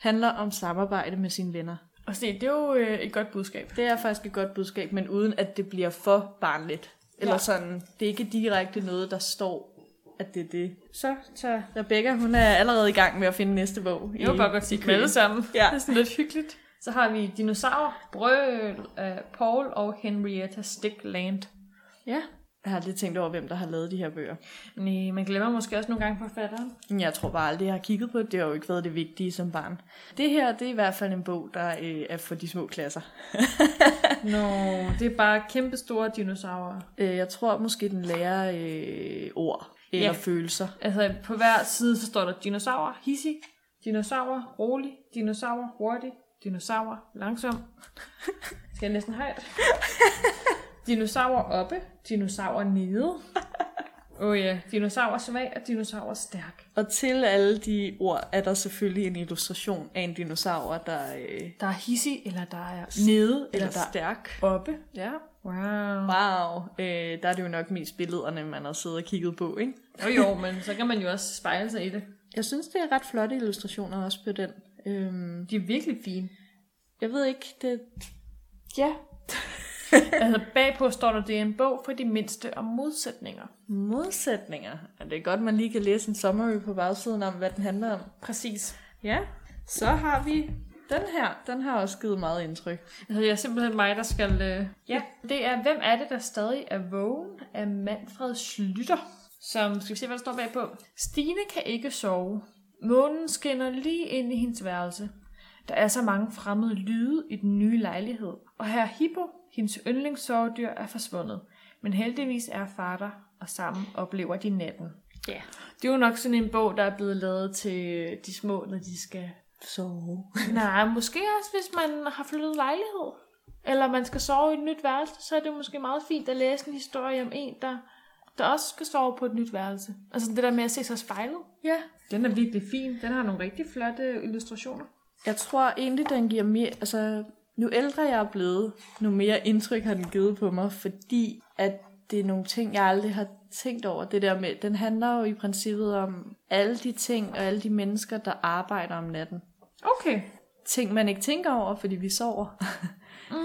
S1: handler om samarbejde med sine venner.
S2: Og se, det er jo øh, et godt budskab.
S1: Det er faktisk et godt budskab, men uden at det bliver for barnligt. Eller
S2: Ja.
S1: ja. sådan, det er ikke direkte noget, der står, at det er det. Så tager Rebecca, hun er allerede i gang med at finde næste bog.
S2: Jeg vil bare godt sige dem alle sammen.
S1: Ja.
S2: Det er sådan lidt hyggeligt. Så har vi Dinosaur, Brøl af Paul og Henrietta Stickland.
S1: Ja. Jeg har lidt tænkt over, hvem der har lavet de her bøger.
S2: Nej, øh, man glemmer måske også nogle gange forfatteren.
S1: Men Jeg tror bare aldrig, jeg har kigget på det. Det har jo ikke været det vigtige som barn. Det her, det er i hvert fald en bog, der øh, er for de små klasser.
S2: Nå, no, det er bare kæmpe store dinosaurer.
S1: Øh, jeg tror måske, den lærer øh, ord eller
S2: Ja.
S1: følelser.
S2: Altså, på hver side, så står der dinosaurer, hissig, dinosaurer, rolig, dinosaurer, hurtig, dinosaurer, langsom. Skal jeg næsten højt? Dinosaurer oppe, dinosaurer nede. Åh oh ja, yeah. dinosaurer svag og dinosaurer stærk.
S1: Og til alle de ord er der selvfølgelig en illustration af en dinosaur, der... Øh,
S2: Der er hissig, eller der er
S1: nede eller,
S2: der-
S1: der. stærk.
S2: oppe.
S1: Ja.
S2: Wow.
S1: Wow. Øh, der er det jo nok mest billederne, man har siddet og kigget på, ikke?
S2: Jo jo, men så kan man jo også spejle sig i det.
S1: Jeg synes, det er ret flotte illustrationer også på den. Øhm,
S2: De er virkelig fine.
S1: jeg ved ikke, det... Ja.
S2: Altså, bagpå står der, det er en bog for de mindste om modsætninger.
S1: Modsætninger. Ja, det er godt, man lige kan læse en summary på bagsiden om, hvad den handler om.
S2: Præcis.
S1: Ja. Så har vi den her. Den har også givet meget indtryk.
S2: Altså, det er simpelthen mig, der skal... Øh... Ja, det er, hvem er det, der stadig er vågen af Manfred Slytter? Som, skal vi se, hvad der står bagpå? Stine kan ikke sove. Månen skinner lige ind i hendes værelse. Der er så mange fremmede lyde i den nye lejlighed. Og her Hippo, hendes yndlingssovedyr, er forsvundet. Men heldigvis er far der, og sammen oplever de natten.
S1: Ja.
S2: Det er jo nok sådan en bog, der er blevet lavet til de små, når de skal
S1: Så...
S2: Nej, måske også, hvis man har flyttet lejlighed. Eller man skal sove i et nyt værelse, så er det måske meget fint at læse en historie om en, der, der også skal sove på et nyt værelse. Altså det der med at se sig spejlet.
S1: Ja.
S2: Den er virkelig fin. Den har nogle rigtig flotte illustrationer.
S1: Jeg tror egentlig, den giver mere... Altså, nu ældre jeg er blevet, nu mere indtryk har den givet på mig, fordi at det er nogle ting, jeg aldrig har tænkt over. Det der med, den handler jo i princippet om alle de ting og alle de mennesker, der arbejder om natten.
S2: Okay.
S1: Ting, man ikke tænker over, fordi vi sover.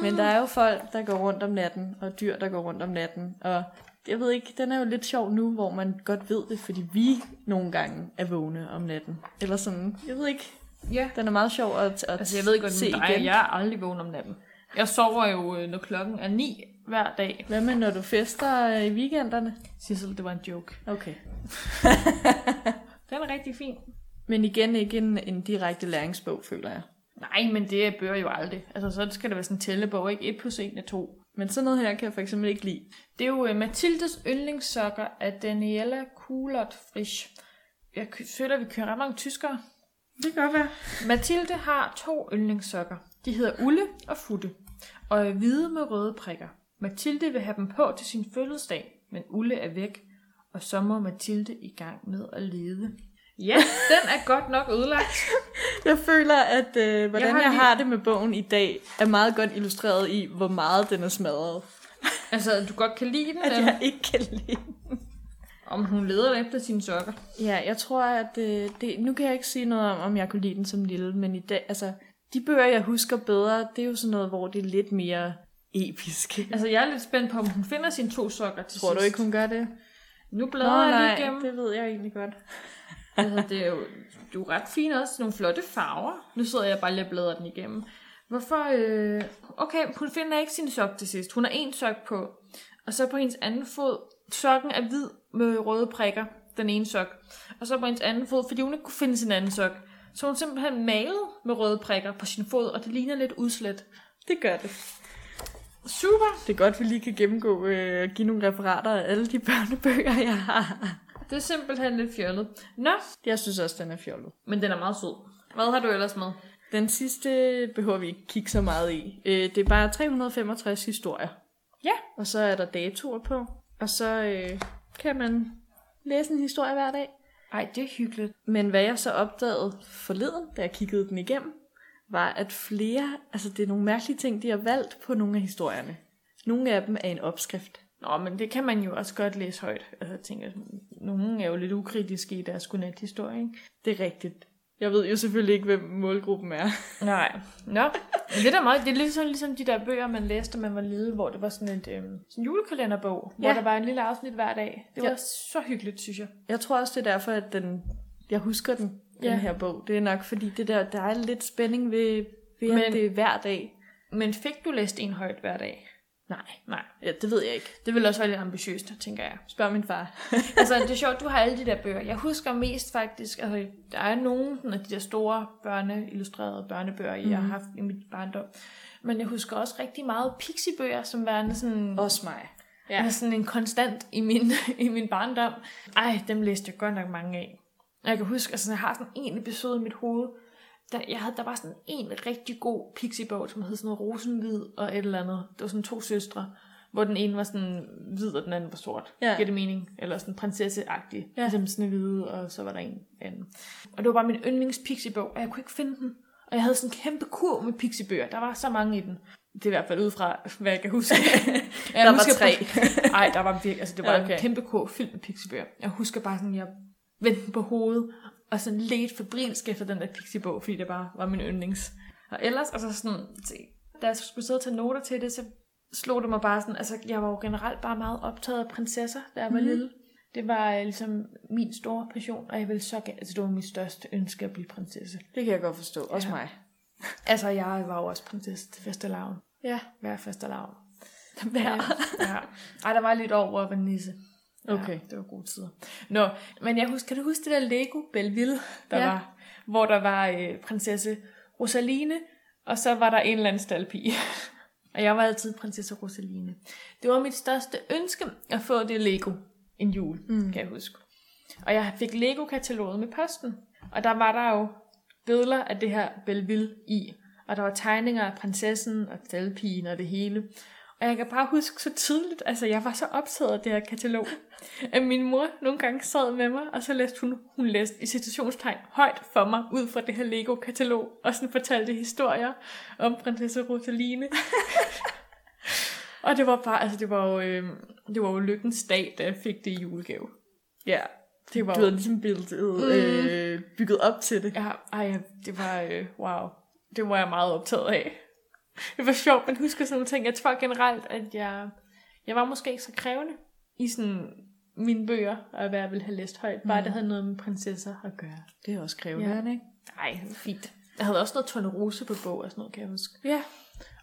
S1: Men
S2: Mm.
S1: der er jo folk, der går rundt om natten, og dyr, der går rundt om natten. Og jeg ved ikke, den er jo lidt sjov nu, hvor man godt ved det, fordi vi nogle gange er vågne om natten. Eller sådan, jeg ved ikke,
S2: Ja.
S1: den er meget sjov at, at
S2: Altså jeg ved ikke, hvordan
S1: se
S2: det er.
S1: igen.
S2: Jeg er aldrig vågen om natten. Jeg sover jo, øh, når klokken er ni hver dag.
S1: Hvad med, når du fester øh, i weekenderne?
S2: Sissel, det var en joke.
S1: Okay.
S2: Den er rigtig fin.
S1: Men igen ikke en, en direkte læringsbog, føler jeg.
S2: Nej, men det bør jo aldrig. Altså, så skal det være sådan en tællebog, ikke? 1 plus 1 er 2.
S1: Men sådan noget her kan jeg for eksempel ikke lide.
S2: Det er jo uh, Mathildes yndlingssokker af Daniela Kulot Frisch. Jeg kø- føler, vi kører ret mange tyskere.
S1: Det kan godt være.
S2: Mathilde har to yndlingssokker. De hedder Ulle og Futte, og er hvide med røde prikker. Mathilde vil have dem på til sin fødselsdag, men Ulle er væk, og så må Mathilde i gang med at lede. Ja, den er godt nok ødelagt.
S1: Jeg føler, at øh, hvordan
S2: Jeg
S1: jeg har,
S2: har
S1: jeg
S2: lige-
S1: har det med bogen i dag, er meget godt illustreret i, hvor meget den er smadret.
S2: Altså, at du godt kan lide den,
S1: At
S2: eller
S1: jeg ikke kan lide den.
S2: om hun leder efter sine sokker.
S1: Ja, jeg tror, at øh, det, nu kan jeg ikke sige noget om, om jeg kunne lide den som lille, men i dag, altså, de bøger, jeg husker bedre, det er jo sådan noget, hvor det er lidt mere episk.
S2: Altså, jeg er lidt spændt på, om hun finder sine to sokker til
S1: Tror du
S2: sidst.
S1: ikke, hun gør det?
S2: Nu bladrer jeg lige igennem.
S1: det ved jeg egentlig godt.
S2: Altså, det er jo, du er ret fin også. Nogle flotte farver. Nu sidder jeg bare lige og bladrer den igennem. Hvorfor? Øh... Okay, hun finder ikke sin sok til sidst. Hun har en sok på. Og så på hendes anden fod. Sokken er hvid med røde prikker. Den ene sok. Og så på hendes anden fod, fordi hun ikke kunne finde sin anden sok. Så hun simpelthen malet med røde prikker på sin fod, og det ligner lidt udslet.
S1: Det gør det.
S2: Super!
S1: Det er godt, vi lige kan gennemgå øh, og give nogle referater af alle de børnebøger, jeg har.
S2: Det er simpelthen lidt fjollet. Nå,
S1: Jeg synes også, den er fjollet.
S2: men den er meget sød. Hvad har du ellers med?
S1: Den sidste behøver vi ikke kigge så meget i. Øh, det er bare 365 historier.
S2: Ja.
S1: Og så er der datoer på. Og så øh, kan man læse en historie hver dag.
S2: Ej, det er hyggeligt.
S1: Men hvad jeg så opdagede forleden, da jeg kiggede den igennem, var, at flere, altså det er nogle mærkelige ting, de har valgt på nogle af historierne. Nogle af dem er en opskrift.
S2: Nå, men det kan man jo også godt læse højt. Altså, jeg tænker, nogen er jo lidt ukritiske i deres godnathistorie, ikke?
S1: Det er rigtigt. Jeg ved jo selvfølgelig ikke, hvem målgruppen er.
S2: Nej. Nå, men det er da meget, det er ligesom, ligesom de der bøger, man læste, da man var lille, hvor det var sådan et øhm, sådan en julekalenderbog, ja.
S1: Ja.
S2: hvor der var en lille afsnit hver dag. Det var
S1: Ja.
S2: ja. så hyggeligt, synes jeg.
S1: Jeg tror også, det er derfor, at den, jeg husker den, ja.
S2: Ja.
S1: den her bog. Det er nok, fordi det der, der er lidt spænding ved, ved Men... at
S2: Men-
S1: det er hver dag.
S2: Men fik du læst en højt hver dag?
S1: Nej,
S2: Nej.
S1: ja, det ved jeg ikke.
S2: Det ville også være lidt ambitiøst, tænker jeg.
S1: Spørg min far.
S2: altså, det er sjovt, du har alle de der bøger. Jeg husker mest faktisk, altså, der er nogle sådan, af de der store børneillustrerede børnebøger, jeg har haft i mit barndom. Men jeg husker også rigtig meget pixiebøger, som værende sådan,
S1: Også mig.
S2: ja. sådan en konstant i min, i min barndom. Ej, dem læste jeg godt nok mange af. Og jeg kan huske, altså, jeg har sådan en episode i mit hoved, der, jeg havde, der var sådan en rigtig god pixiebog, som hed sådan noget Rosenhvid og et eller andet. Det var sådan to søstre, hvor den ene var sådan hvid, og den anden var sort.
S1: Ja.
S2: Giver det mening? Eller sådan prinsesseagtig. Ja.
S1: Ja.
S2: Ligesom sådan hvide, og så var der en anden. Og det var bare min yndlings pixiebog, og jeg kunne ikke finde den. Og jeg havde sådan en kæmpe kur med pixiebøger. Der var så mange i den. Det er i hvert fald ud fra, hvad jeg kan huske. jeg
S1: Der var
S2: husker
S1: tre.
S2: Nej, der var virkelig, altså det var
S1: Ja,
S2: okay.
S1: okay.
S2: en kæmpe kur fyldt med pixiebøger. Jeg husker bare sådan, jeg vendte den på hovedet, og sådan lidt febrilsk efter den der pixiebog, fordi det bare var min yndlings. Og ellers, altså sådan, se, da jeg skulle sidde og tage noter til det, så slog det mig bare sådan, altså jeg var jo generelt bare meget optaget af prinsesser, da jeg var mm. lille. Det var øh, ligesom min store passion, og jeg ville så gerne, altså det var mit største ønske at blive prinsesse.
S1: Det kan jeg godt forstå. Også ja. mig.
S2: Altså jeg var jo også prinsesse til fastelavn.
S1: Ja.
S2: Hver fastelavn.
S1: Hver.
S2: ja. Ej, der var lidt over, hvor jeg var nisse.
S1: Okay.
S2: Ja, det var gode tider. Nå, men jeg husker, kan du huske det der Lego Belleville, der
S1: Ja.
S2: ja. var, hvor der var øh, prinsesse Rosaline, og så var der en eller anden staldpige. og jeg var altid prinsesse Rosaline. Det var mit største ønske at få det Lego en jul, mm. kan jeg huske. Og jeg fik Lego-kataloget med posten. Og der var der jo billeder af det her Belleville i. Og der var tegninger af prinsessen og talpigen og det hele. Og jeg kan bare huske så tydeligt, altså jeg var så optaget af det her katalog, at min mor nogle gange sad med mig, og så læste hun, hun læste i situationstegn højt for mig, ud fra det her Lego-katalog, og sådan fortalte historier om prinsesse Rosaline. og det var bare, altså det var jo, øh, det var jo lykkens dag, da jeg fik det i julegave.
S1: Ja.
S2: Det var
S1: Du havde ligesom billedet, mm. øh, bygget op til det.
S2: Ja, ej, det var, øh, wow, det var jeg meget optaget af. Det var sjovt, man husker sådan nogle ting. Jeg tror generelt, at jeg, jeg var måske ikke så krævende i sådan mine bøger, og hvad jeg ville have læst højt. Bare det havde noget med prinsesser at gøre.
S1: Det er også krævende, ja. ikke?
S2: Nej, fint. Jeg havde også noget Tone Rose på bog og sådan noget, kan jeg huske.
S1: Ja.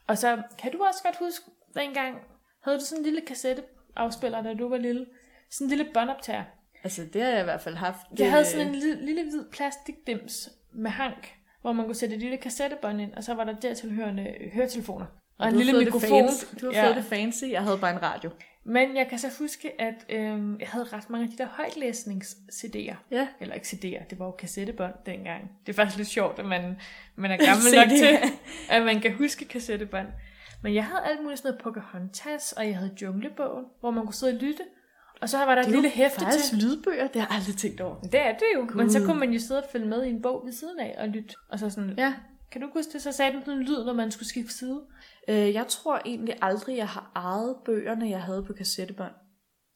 S2: Og så kan du også godt huske, dengang havde du sådan en lille kassetteafspiller, da du var lille. Sådan en lille båndoptager.
S1: Altså, det har jeg i hvert fald haft.
S2: Jeg havde
S1: Øh.
S2: sådan en lille, lille hvid plastikdims med hank, hvor man kunne sætte et lille kassettebånd ind, og så var der dertilhørende høretelefoner. Og en
S1: du har
S2: lille
S1: fået
S2: mikrofon.
S1: Det fancy. Du har ja. fået det fancy, jeg havde bare en radio.
S2: Men jeg kan så huske, at øhm, jeg havde ret mange af de der højtlæsnings-CD'er.
S1: Ja.
S2: Eller ikke CD'er, det var jo kassettebånd dengang. Det er faktisk lidt sjovt, at man, man er
S1: Se
S2: gammel nok
S1: det.
S2: til, at man kan huske kassettebånd. Men jeg havde alt muligt sådan noget Pocahontas, og jeg havde Junglebogen, hvor man kunne sidde og lytte. Og så var der et lille hæfte
S1: faktisk
S2: til.
S1: lydbøger, det har jeg aldrig tænkt over.
S2: Det er det jo. Cool. Men så
S1: Gud.
S2: kunne man jo sidde og følge med i en bog ved siden af og lytte. Og så sådan, ja.
S1: Ja.
S2: kan du ikke huske det? Så sagde den sådan en lyd, når man skulle skifte side.
S1: Øh, jeg tror egentlig aldrig, jeg har ejet bøgerne, jeg havde på kassettebånd.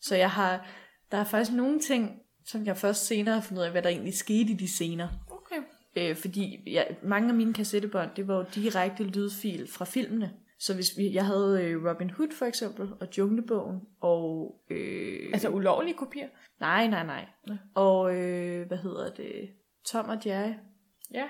S1: Så jeg har, der er faktisk nogle ting, som jeg først senere har fundet ud af, hvad der egentlig skete i de scener.
S2: Okay.
S1: Øh, fordi jeg, mange af mine kassettebånd, det var jo direkte lydfil fra filmene. Så hvis vi, jeg havde øh, Robin Hood for eksempel, og Junglebogen, og... Øh,
S2: Altså ulovlige kopier.
S1: nej, nej, nej.
S2: Nå.
S1: Og øh, hvad hedder det? Tom og Jerry.
S2: Ja.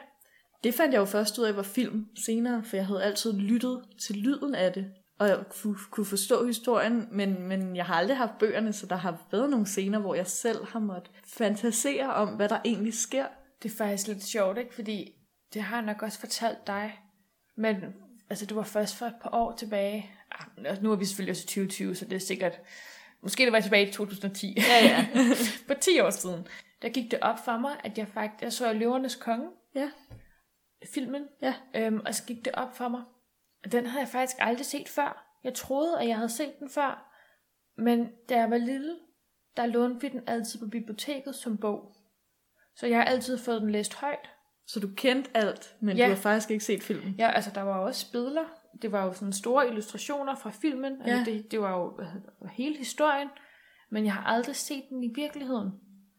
S1: Det fandt jeg jo først ud af, var film senere, for jeg havde altid lyttet til lyden af det, og jeg kunne, kunne forstå historien, men, men jeg har aldrig haft bøgerne, så der har været nogle scener, hvor jeg selv har måttet fantasere om, hvad der egentlig sker.
S2: Det er faktisk lidt sjovt, ikke? Fordi det har jeg nok også fortalt dig. Men altså, det var først for et par år tilbage. Ah, men også nu er vi selvfølgelig også i 2020, så det er sikkert... Måske det var tilbage i 2010. Ja, ja. For 10 år siden. Der gik det op for mig, at jeg faktisk... Jeg så Løvernes Konge,
S1: Ja,
S2: filmen.
S1: ja.
S2: Øhm, og så gik det op for mig. Og den havde jeg faktisk aldrig set før. Jeg troede, at jeg havde set den før. Men da jeg var lille, der lånte vi den altid på biblioteket som bog. Så jeg har altid fået den læst højt.
S1: Så du kendte alt, men
S2: Ja.
S1: ja. du har faktisk ikke set filmen.
S2: Ja, altså der var jo også billeder. Det var jo sådan store illustrationer fra filmen. Ja. Altså,
S1: Ja.
S2: det, det var jo hvad hedder det, hele historien. Men jeg har aldrig set den i virkeligheden.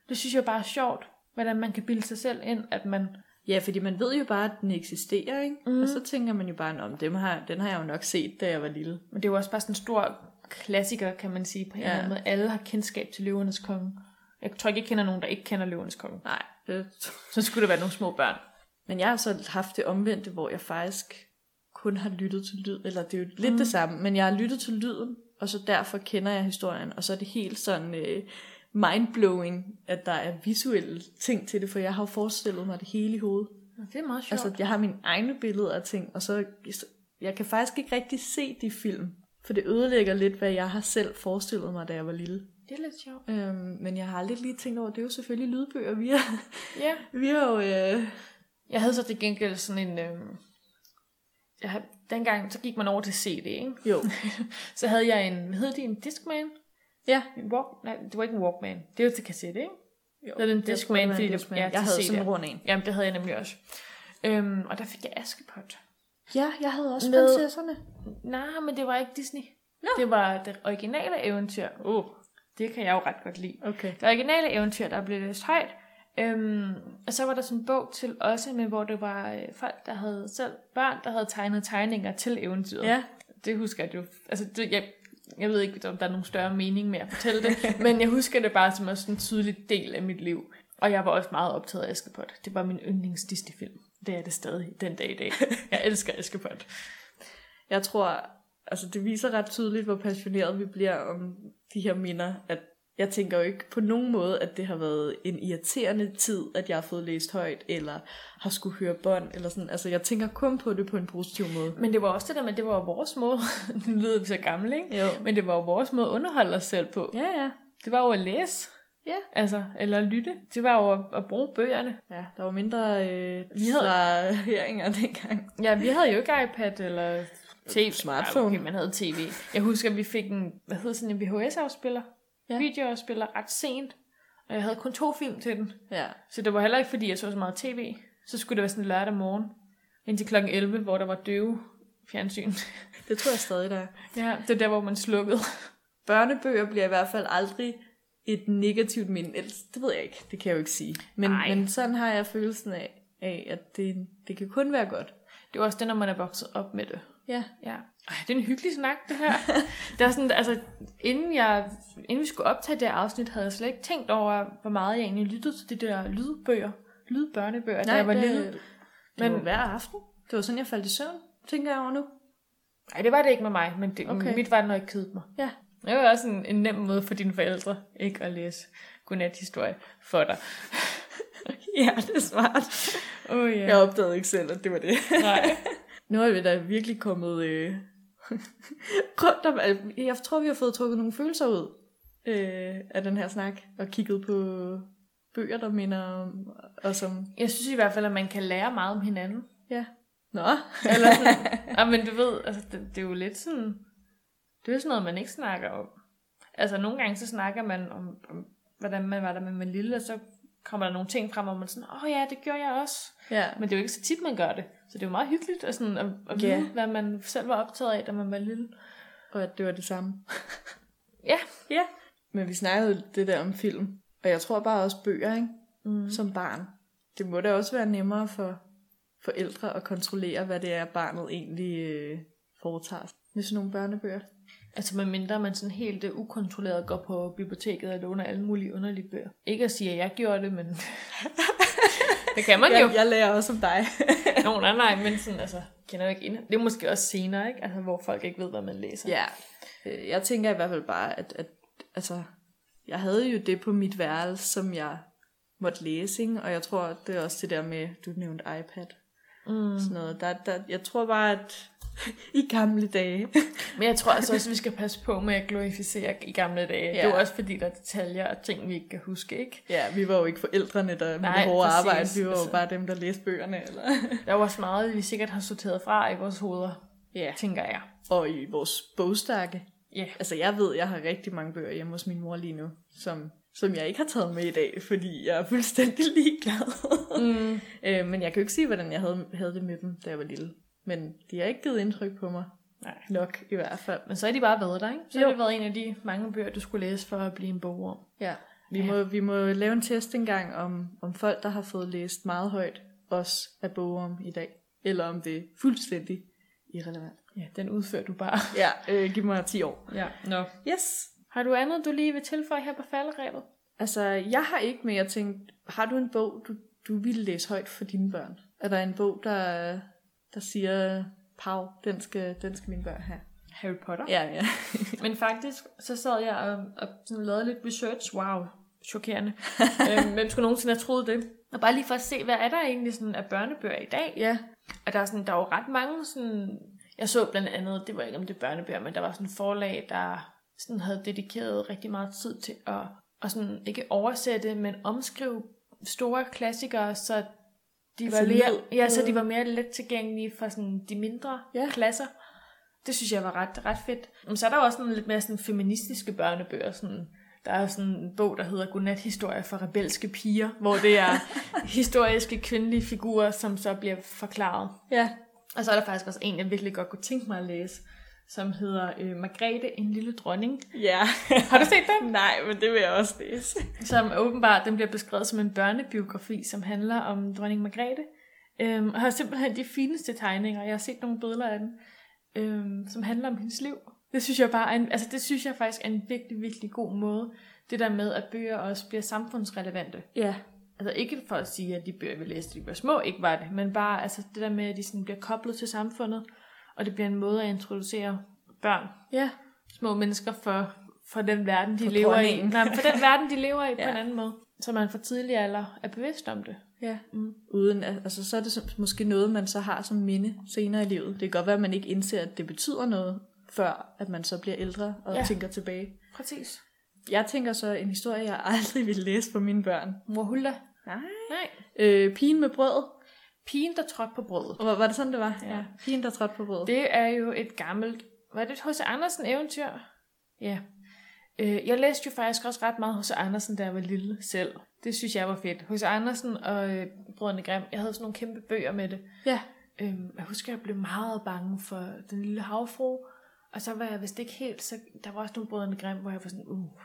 S2: Det synes jeg bare er sjovt, hvordan man kan bilde sig selv ind, at man...
S1: Ja, fordi man ved jo bare, at den eksisterer, ikke?
S2: Mhm.
S1: Mm. Og så tænker man jo bare, om dem har, den har jeg jo nok set, da jeg var lille.
S2: Men det er jo også bare sådan en stor klassiker, kan man sige, på en
S1: Ja.
S2: eller anden måde. Alle har kendskab til Løvernes Konge. Jeg tror ikke, jeg kender nogen, der ikke kender Løvernes Konge.
S1: Nej, det
S2: Så skulle der være nogle små børn.
S1: Men jeg har så haft det omvendte, hvor jeg faktisk kun har lyttet til lyd, eller det er jo lidt mm. det samme, men jeg har lyttet til lyden, og så derfor kender jeg historien, og så er det helt sådan øh, mindblowing, at der er visuelle ting til det, for jeg har jo forestillet mig det hele i hovedet.
S2: Nå, Det er meget sjovt.
S1: Altså, jeg har mine egne billeder af ting, og så, jeg kan faktisk ikke rigtig se de film, for det ødelægger lidt, hvad jeg har selv forestillet mig, da jeg var lille.
S2: det er lidt sjovt.
S1: Øhm, men jeg har aldrig lige tænkt over, det er jo selvfølgelig lydbøger, vi har,
S2: Ja.
S1: vi har jo, øh,
S2: Jeg havde så til gengæld sådan en... Øh... Jeg havde... Dengang, så gik man over til CD, ikke?
S1: jo,
S2: Så havde jeg en, hvad hed det, en Discman?
S1: ja,
S2: En walk, nej, det var ikke en Walkman. Det var til kassette, ikke?
S1: Jo,
S2: Så er det en
S1: jeg
S2: Discman,
S1: tror, det var en
S2: fordi det-
S1: Discman.
S2: ja,
S1: Jeg
S2: til
S1: havde
S2: CD.
S1: sådan en rund en.
S2: Jamen, det havde jeg nemlig også. Øhm, og der fik jeg Askepot.
S1: Ja, jeg havde også
S2: Med-
S1: prinsesserne.
S2: Nej, men det var ikke Disney. No. Det var det originale eventyr. Uh, det kan jeg jo ret godt lide.
S1: Okay.
S2: Det originale eventyr, der blev læst højt. Øhm, og så var der sådan en bog til også, men hvor det var øh, folk, der havde selv børn, der havde tegnet tegninger til eventyret.
S1: Ja.
S2: Det husker jeg jo. Altså, det, jeg, jeg ved ikke, om der er nogen større mening med at fortælle det, men jeg husker det bare som også en tydelig del af mit liv. Og jeg var også meget optaget af Askepot. Det var min yndlings Disney-film. Det er det stadig den dag i dag. Jeg elsker Askepot.
S1: Jeg tror, altså det viser ret tydeligt, hvor passioneret vi bliver om de her minder, at jeg tænker jo ikke på nogen måde, at det har været en irriterende tid, at jeg har fået læst højt, eller har skulle høre bånd, eller sådan. Altså, jeg tænker kun på det på en positiv måde.
S2: Men det var også det der med, at det var vores måde. nu lyder vi så gamle, ikke?
S1: Jo.
S2: Men det var jo vores måde at underholde os selv på.
S1: Ja, ja.
S2: Det var jo at læse.
S1: Ja.
S2: Altså, eller lytte. Det var jo at, at bruge bøgerne.
S1: Ja, der var mindre øh,
S2: Vi havde-
S1: fra høringer dengang.
S2: Ja, vi havde jo ikke iPad eller TV.
S1: Smartphone.
S2: Ej, Okay, man havde tv. Jeg husker, at vi fik en, hvad hedder sådan en VHS-afspiller? Ja.
S1: Ja.
S2: Videoafspiller ret sent. Og jeg havde kun to film til den.
S1: Ja.
S2: Så det var heller ikke, fordi jeg så så meget tv. Så skulle det være sådan lørdag morgen. Indtil klokken 11, hvor der var døve fjernsyn.
S1: Det tror jeg stadig, der er.
S2: Ja, det er der, hvor man slukkede.
S1: børnebøger bliver i hvert fald aldrig et negativt minde. Ellers, det ved jeg ikke, det kan jeg jo ikke sige. Men,
S2: Ej.
S1: men sådan har jeg følelsen af, af at det, det kan kun være godt.
S2: Det er også det, når man er vokset op med det.
S1: Ja.
S2: Ja. Ej, det er en hyggelig snak, det her. der er sådan, altså, inden, jeg, inden vi skulle optage det her afsnit, havde jeg slet ikke tænkt over, hvor meget jeg egentlig lyttede til de der lydbøger, lydbørnebøger, da jeg var
S1: det,
S2: lille.
S1: Men
S2: Men-
S1: hver aften. Det var sådan, jeg faldt i søvn, tænker jeg over nu.
S2: Nej, det var det ikke med mig, men det, okay.
S1: Okay.
S2: mit var det, når jeg kedede mig.
S1: Ja.
S2: Det var også en, en nem måde for dine forældre ikke at læse godnat-historie for dig.
S1: Ja, det er smart.
S2: Åh oh, ja.
S1: Jeg opdagede ikke selv, at det var det.
S2: Nej.
S1: Nu er vi da virkelig kommet øh, rundt om... alt. Jeg tror, vi har fået trukket nogle følelser ud øh, af den her snak, og kigget på bøger, der minder om... Og som,
S2: Jeg synes i hvert fald, at man kan lære meget om hinanden.
S1: ja. Nå,
S2: Eller sådan, ja, men du ved, altså, det, det er jo lidt sådan, det er jo sådan noget, man ikke snakker om. Altså nogle gange, så snakker man om, om hvordan man var der med man lille, og så kommer der nogle ting frem, hvor man sådan, åh oh, ja, det gjorde jeg også.
S1: ja.
S2: Men det er jo ikke så tit, man gør det. Så det er jo meget hyggeligt at, sådan, at, at vide,
S1: Ja.
S2: hvad man selv var optaget af, da man var lille.
S1: Og at det var det samme.
S2: Ja.
S1: Ja. Men vi snakkede jo det der om film, og jeg tror bare også bøger, ikke?
S2: Mm.
S1: Som barn. Det må da også være nemmere for forældre at kontrollere, hvad det er, barnet egentlig øh, foretager sig med sådan nogle børnebøger.
S2: Altså med mindre man sådan helt øh, ukontrolleret går på biblioteket og låner alle mulige underlige bøger. Ikke at sige, at jeg gjorde det, men det kan man jo.
S1: Jeg, jeg lærer også om dig.
S2: Nå, nej, nej, men sådan, altså, kender jo ikke ind. Det er måske også senere, ikke? Altså, hvor folk ikke ved, hvad man læser.
S1: Ja, øh, jeg tænker i hvert fald bare, at, at altså, jeg havde jo det på mit værelse, som jeg måtte læse, ikke? og jeg tror, det er også det der med, du nævnte iPad,
S2: Mm.
S1: sådan noget. Der, der, jeg tror bare, at i gamle dage,
S2: Men jeg tror altså også, at vi skal passe på med at glorificere i gamle dage. Ja. Det er jo også fordi, der er detaljer og ting, vi ikke kan huske, ikke?
S1: ja, vi var jo ikke forældrene, der med
S2: Nej,
S1: det hårde
S2: præcis.
S1: arbejde, vi var jo
S2: Altså-
S1: bare dem, der læste bøgerne, eller...
S2: Der er jo også meget, vi sikkert har sorteret fra i vores hoveder,
S1: Ja.
S2: tænker jeg.
S1: Og i vores bogstakke.
S2: Ja.
S1: Altså, jeg ved, jeg har rigtig mange bøger hjemme hos min mor lige nu, som, som jeg ikke har taget med i dag, fordi jeg er fuldstændig ligeglad.
S2: Mm.
S1: Øh, men jeg kan jo ikke sige, hvordan jeg havde, havde det med dem, da jeg var lille. Men de har ikke givet indtryk på mig.
S2: Nej.
S1: Nok i hvert fald.
S2: Men så er de bare været der, ikke? Så har
S1: Jo.
S2: det været en af de mange bøger, du skulle læse for at blive en bogorm.
S1: Ja. Vi,
S2: Ja.
S1: Må, vi må lave en test engang om, om folk, der har fået læst meget højt, også er bogorm i dag. Eller om det er fuldstændig irrelevant.
S2: Ja, den udfører du bare.
S1: Ja, øh, giv mig 10 år.
S2: Ja, nå.
S1: Yes.
S2: Har du andet, du lige vil tilføje her på falderæbet?
S1: Altså, jeg har ikke, men jeg tænkte, har du en bog, du, du ville læse højt for dine børn? Er der en bog, der, der siger, Pau, den skal, den skal mine børn have?
S2: Harry Potter?
S1: Ja, ja.
S2: Men faktisk, så sad jeg og, og sådan lavede lidt research. Wow, chokerende. øhm, hvem skulle nogensinde have troet det? Og bare lige for at se, hvad er der egentlig sådan af børnebøger i dag?
S1: ja.
S2: Og der er, sådan, der er jo ret mange sådan... Jeg så blandt andet, det var ikke om det er børnebøger, men der var sådan forlag, der sådan havde dedikeret rigtig meget tid til at, at sådan, ikke oversætte, men omskrive store klassikere, så de var,
S1: Altså
S2: mere,
S1: lyd.
S2: ja, så de var mere let tilgængelige for sådan de mindre
S1: Ja.
S2: ja. klasser. Det synes jeg var ret, ret fedt. Men så er der jo også sådan lidt mere sådan feministiske børnebøger. Sådan, der er sådan en bog, der hedder Godnat-historie for rebelske piger, hvor det er historiske kvindelige figurer, som så bliver forklaret.
S1: Ja,
S2: Og så er der faktisk også en, jeg virkelig godt kunne tænke mig at læse, som hedder øh, Margrethe, en lille dronning.
S1: Ja.
S2: Har du set den?
S1: Nej, men det vil jeg også læse.
S2: Som åbenbart, den bliver beskrevet som en børnebiografi, som handler om dronning Margrethe. Øhm, og har simpelthen de fineste tegninger. Jeg har set nogle billeder af den, øhm, som handler om hendes liv. Det synes jeg bare er en, altså det synes jeg faktisk er en virkelig, virkelig god måde. Det der med, at bøger også bliver samfundsrelevante.
S1: Ja.
S2: Altså ikke for at sige, at de bøger, vi læste, da de var små, ikke var det, men bare altså, det der med, at de sådan bliver koblet til samfundet, og det bliver en måde at introducere børn,
S1: Ja.
S2: små mennesker for, for den verden, de
S1: For
S2: lever
S1: dronningen.
S2: i. Nej, for den verden, de lever i ja.
S1: Ja.
S2: på en anden måde, så man for tidlig alder er bevidst om det.
S1: Ja.
S2: Mm.
S1: Uden, at- altså, så er det som- måske noget, man så har som minde senere i livet. Det kan godt være, at man ikke indser, at det betyder noget, før at man så bliver ældre og ja.
S2: Ja.
S1: tænker tilbage.
S2: Præcis.
S1: Jeg tænker så en historie, jeg aldrig ville læse for mine børn.
S2: Mor Hulda.
S1: Nej.
S2: Nej.
S1: Øh, pigen med brød.
S2: Pigen, der trådte på brødet.
S1: Var, var det sådan, det var?
S2: Ja.
S1: Pigen, der trådte på brødet.
S2: Det er jo et gammelt... Var det et H.C. Andersen eventyr? Ja. Øh, jeg læste jo faktisk også ret meget H.C. Andersen, da jeg var lille selv. Det synes jeg var fedt. H.C. Andersen og øh, Brødrene Grimm, jeg havde sådan nogle kæmpe bøger med det.
S1: Ja.
S2: Øhm, jeg husker, jeg blev meget bange for den lille havfru, og så var jeg vist ikke helt, så der var også nogle Brødrene Grimm, hvor jeg var sådan, uh,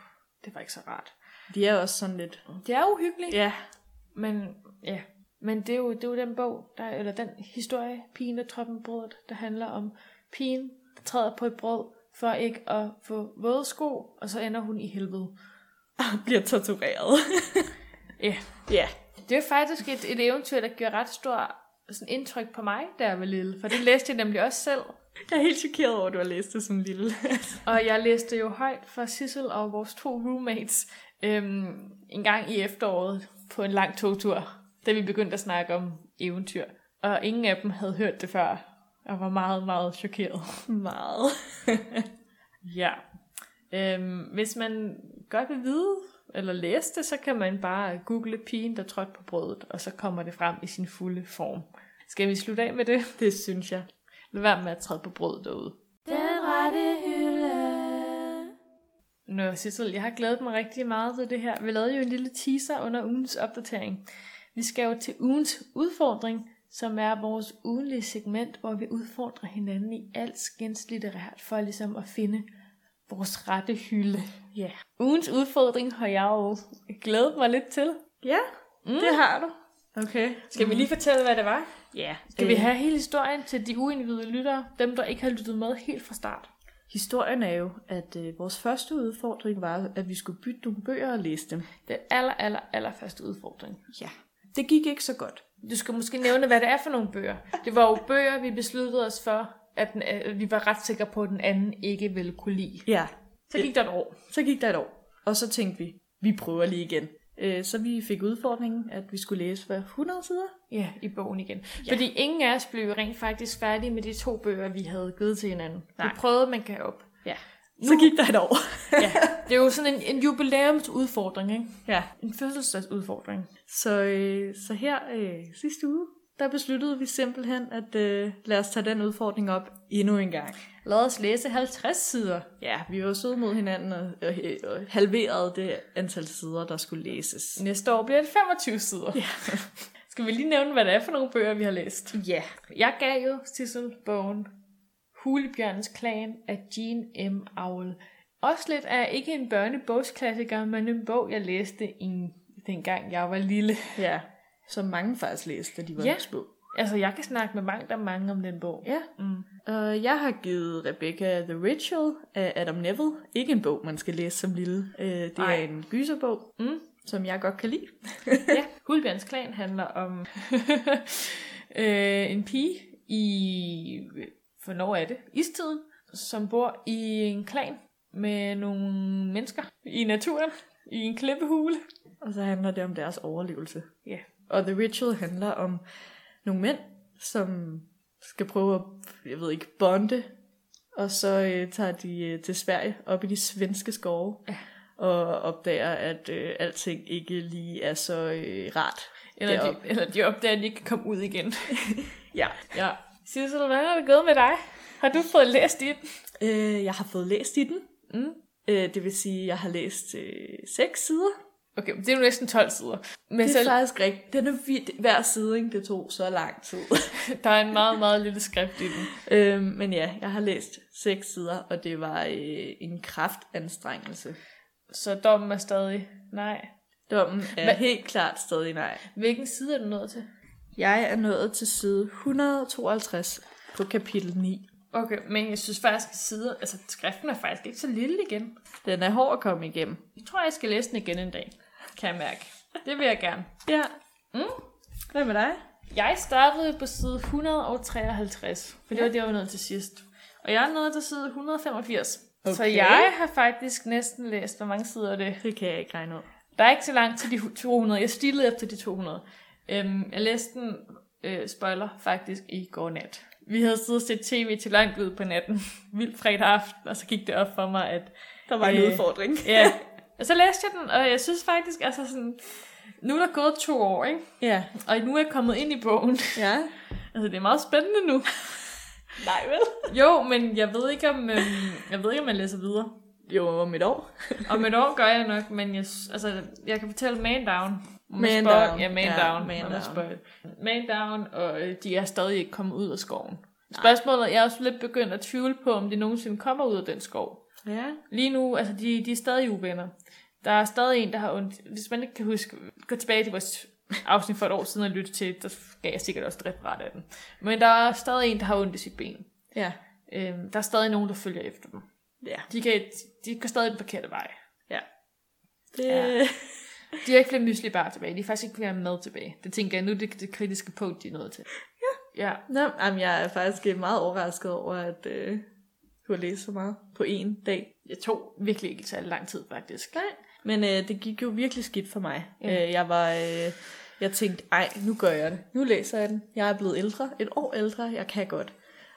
S2: det var ikke så rart.
S1: De er også sådan lidt...
S2: Det er uhyggeligt,
S1: Ja.
S2: men ja, men det er jo, det er jo den bog, der, eller den historie, pigen, der trådte med brødet, der handler om pigen, der træder på et brød, for ikke at få våde sko, og så ender hun i helvede.
S1: Og bliver tortureret.
S2: Ja.
S1: Ja.
S2: Det er faktisk et, et eventyr, der gjorde ret stor sådan indtryk på mig, da jeg var lille, for det læste jeg nemlig også selv.
S1: Jeg er helt chokeret over, at du har læst det som lille.
S2: Og jeg læste jo højt for Sissel og vores to roommates øhm, en gang i efteråret på en lang togtur, da vi begyndte at snakke om eventyr. Og ingen af dem havde hørt det før, og var meget, meget chokeret.
S1: Meget.
S2: Ja. Øhm, hvis man godt vil vide, eller læse det, så kan man bare google pigen, der trådte på brødet, og så kommer det frem i sin fulde form. Skal vi slutte af med det?
S1: Det synes jeg.
S2: Lad være med at træde på brødet derude.
S3: Den rette hylde.
S2: Nå, Sissel, jeg har glædet mig rigtig meget til det her. Vi lavede jo en lille teaser under ugens opdatering. Vi skal jo til ugens udfordring, som er vores ugenlige segment, hvor vi udfordrer hinanden i alt skænslitterært for ligesom at finde vores rette hylde.
S1: Ja.
S2: Ugens udfordring har jeg jo glædet mig lidt til.
S1: Ja,
S2: Mm. Det har du.
S1: okay.
S2: Skal mm. vi lige fortælle, hvad det var?
S1: Ja.
S2: Skal øh. vi have hele historien til de uindvidede lyttere? Dem, der ikke har lyttet med helt fra start.
S1: Historien er jo, at øh, vores første udfordring var, at vi skulle bytte nogle bøger og læse dem.
S2: Den aller, aller, aller første udfordring.
S1: Ja. Det gik ikke så godt.
S2: Du skal måske nævne, hvad det er for nogle bøger. Det var jo bøger, vi besluttede os for, at den, øh, vi var ret sikre på, at den anden ikke ville kunne lide.
S1: Ja.
S2: Så gik der et år.
S1: Så gik der et år, og så tænkte vi, vi prøver lige igen. Øh, så vi fik udfordringen, at vi skulle læse hver 100 sider.
S2: Ja, i bogen igen. Ja. Fordi ingen af os blev rent faktisk færdige med de to bøger, vi havde givet til hinanden. Nej.
S1: Nej.
S2: Vi prøvede, man kan op.
S1: Ja.
S2: Nu,
S1: Så gik der et år.
S2: ja, det er jo sådan en, en jubilæumsudfordring, ikke?
S1: ja.
S2: En fødselsdagsudfordring.
S1: Så, øh, så her øh, sidste uge, der besluttede vi simpelthen, at øh, lad os tage den udfordring op endnu en gang.
S2: Lad os læse 50 sider.
S1: Ja, vi var søde mod hinanden og, og, og halverede det antal sider, der skulle læses.
S2: Næste år bliver det 25 sider. Ja. Skal vi lige nævne, hvad det er for nogle bøger, vi har læst?
S1: Ja.
S2: Jeg gav jo Sissel bogen Hulebjørnens Klan af Jean M. Owl. Også lidt af ikke en børnebogsklassiker, men en bog, jeg læste i, dengang jeg var lille.
S1: Ja, som mange faktisk læste, da de var
S2: Ja.
S1: ja. små.
S2: Altså, jeg kan snakke med mange der mange om den bog.
S1: Ja.
S2: Mm.
S1: Og Øh, jeg har givet Rebecca The Ritual af Adam Neville. Ikke en bog, man skal læse som lille. Øh, Det
S2: Ej.
S1: er en gyserbog,
S2: Mm.
S1: som jeg godt kan lide.
S2: ja. Hulebjørns Klan handler om øh, en pige i, hvornår er det? Istiden, som bor i en klan med nogle mennesker i naturen, i en klippehule.
S1: Og så handler det om deres overlevelse.
S2: Ja.
S1: Og The Ritual handler om nogle mænd, som skal prøve at, jeg ved ikke, bonde. Og så øh, tager de øh, til Sverige, op i de svenske skove. Ja. Og opdager, at øh, alting ikke lige er så øh, rart.
S2: Eller de,
S1: deroppe.
S2: eller de opdager, at de ikke kan komme ud igen.
S1: Ja.
S2: ja. Sissel, hvad er det gået med dig? Har du fået læst i den?
S1: Øh, jeg har fået læst i den.
S2: Mm.
S1: Øh, det vil sige, at jeg har læst øh, seks sider.
S2: Okay, men det er jo næsten 12 sider. Men
S1: Det er
S2: så,
S1: faktisk rigtigt. Den er vild. Hver side, ikke? det tog så lang tid.
S2: der er en meget, meget lille skrift i den.
S1: øhm, men ja, jeg har læst seks sider, og det var øh, en kraftanstrengelse.
S2: Så dommen er stadig nej.
S1: Dommen er
S2: Hva-
S1: Hva? helt klart stadig nej.
S2: Hvilken side er du nået til?
S1: Jeg er nået til side 152 på kapitel 9.
S2: Okay, men jeg synes faktisk, at sider, altså skriften er faktisk ikke så lille igen.
S1: Den er hård at komme igennem.
S2: Jeg tror, jeg skal læse den igen en dag, kan jeg mærke. Det vil jeg gerne.
S1: Ja.
S2: Mm.
S1: Hvad med dig?
S2: Jeg startede på side 153, for det var det, jeg var nået til sidst. Og jeg er nået til side 185. Okay. Så
S1: Okay.
S2: jeg har faktisk næsten læst, hvor mange sider er det
S1: Det kan jeg ikke regne ud.
S2: Der er ikke så langt til de hu- 200. Jeg stilede efter de 200. Øhm, jeg læste den, øh, spoiler, faktisk i går nat. Vi havde siddet og set tv til langt ud på natten. Vild fredag aften, og så gik det op for mig, at...
S1: Der var en
S2: Øh,
S1: udfordring.
S2: Ja, og så læste jeg den, og jeg synes faktisk, altså sådan... Nu er der gået to år, ikke?
S1: Ja.
S2: Og nu er jeg kommet ind i bogen.
S1: Ja.
S2: Altså, det er meget spændende nu.
S1: Nej, vel?
S2: Jo, men jeg ved ikke, om, øhm, jeg ved ikke, om jeg læser videre.
S1: Jo, om et år.
S2: Om et år gør jeg nok, men jeg, s- altså, jeg kan fortælle Man Down. Om
S1: Man
S2: spøj-
S1: Down.
S2: Ja, Man
S1: Ja,
S2: Down.
S1: Man
S2: Man,
S1: Down.
S2: Down. man Down, og øh, de er stadig ikke kommet ud af skoven. Spørgsmålet er, jeg er også lidt begyndt at tvivle på, om de nogensinde kommer ud af den skov.
S1: Ja.
S2: Lige nu, altså de, de er stadig uvenner. Der er stadig en, der har ondt. Hvis man ikke kan huske, gå tilbage til vores afsnit for et år siden og lytte til, der gav jeg sikkert også et referat af den. Men der er stadig en, der har ondt i sit ben.
S1: Ja.
S2: Øhm, der er stadig nogen, der følger efter dem.
S1: Ja.
S2: De, kan, de går stadig den forkerte vej.
S1: Ja. Det...
S2: Ja. De har ikke flere mysli bare tilbage. De har faktisk ikke flere mad tilbage. Det tænker jeg nu, det er det kritiske punkt, de er nået til. Ja. ja.
S1: Nå, jamen, jeg er faktisk øh, meget overrasket over, at øh, du har læst så meget på én dag.
S2: Jeg tog virkelig ikke særlig lang tid, faktisk. Nej.
S1: Men øh, det gik jo virkelig skidt for mig. Ja. Øh, jeg var... Øh, jeg tænkte, ej, nu gør jeg det. Nu læser jeg den. Jeg er blevet ældre. Et år ældre. Jeg kan godt.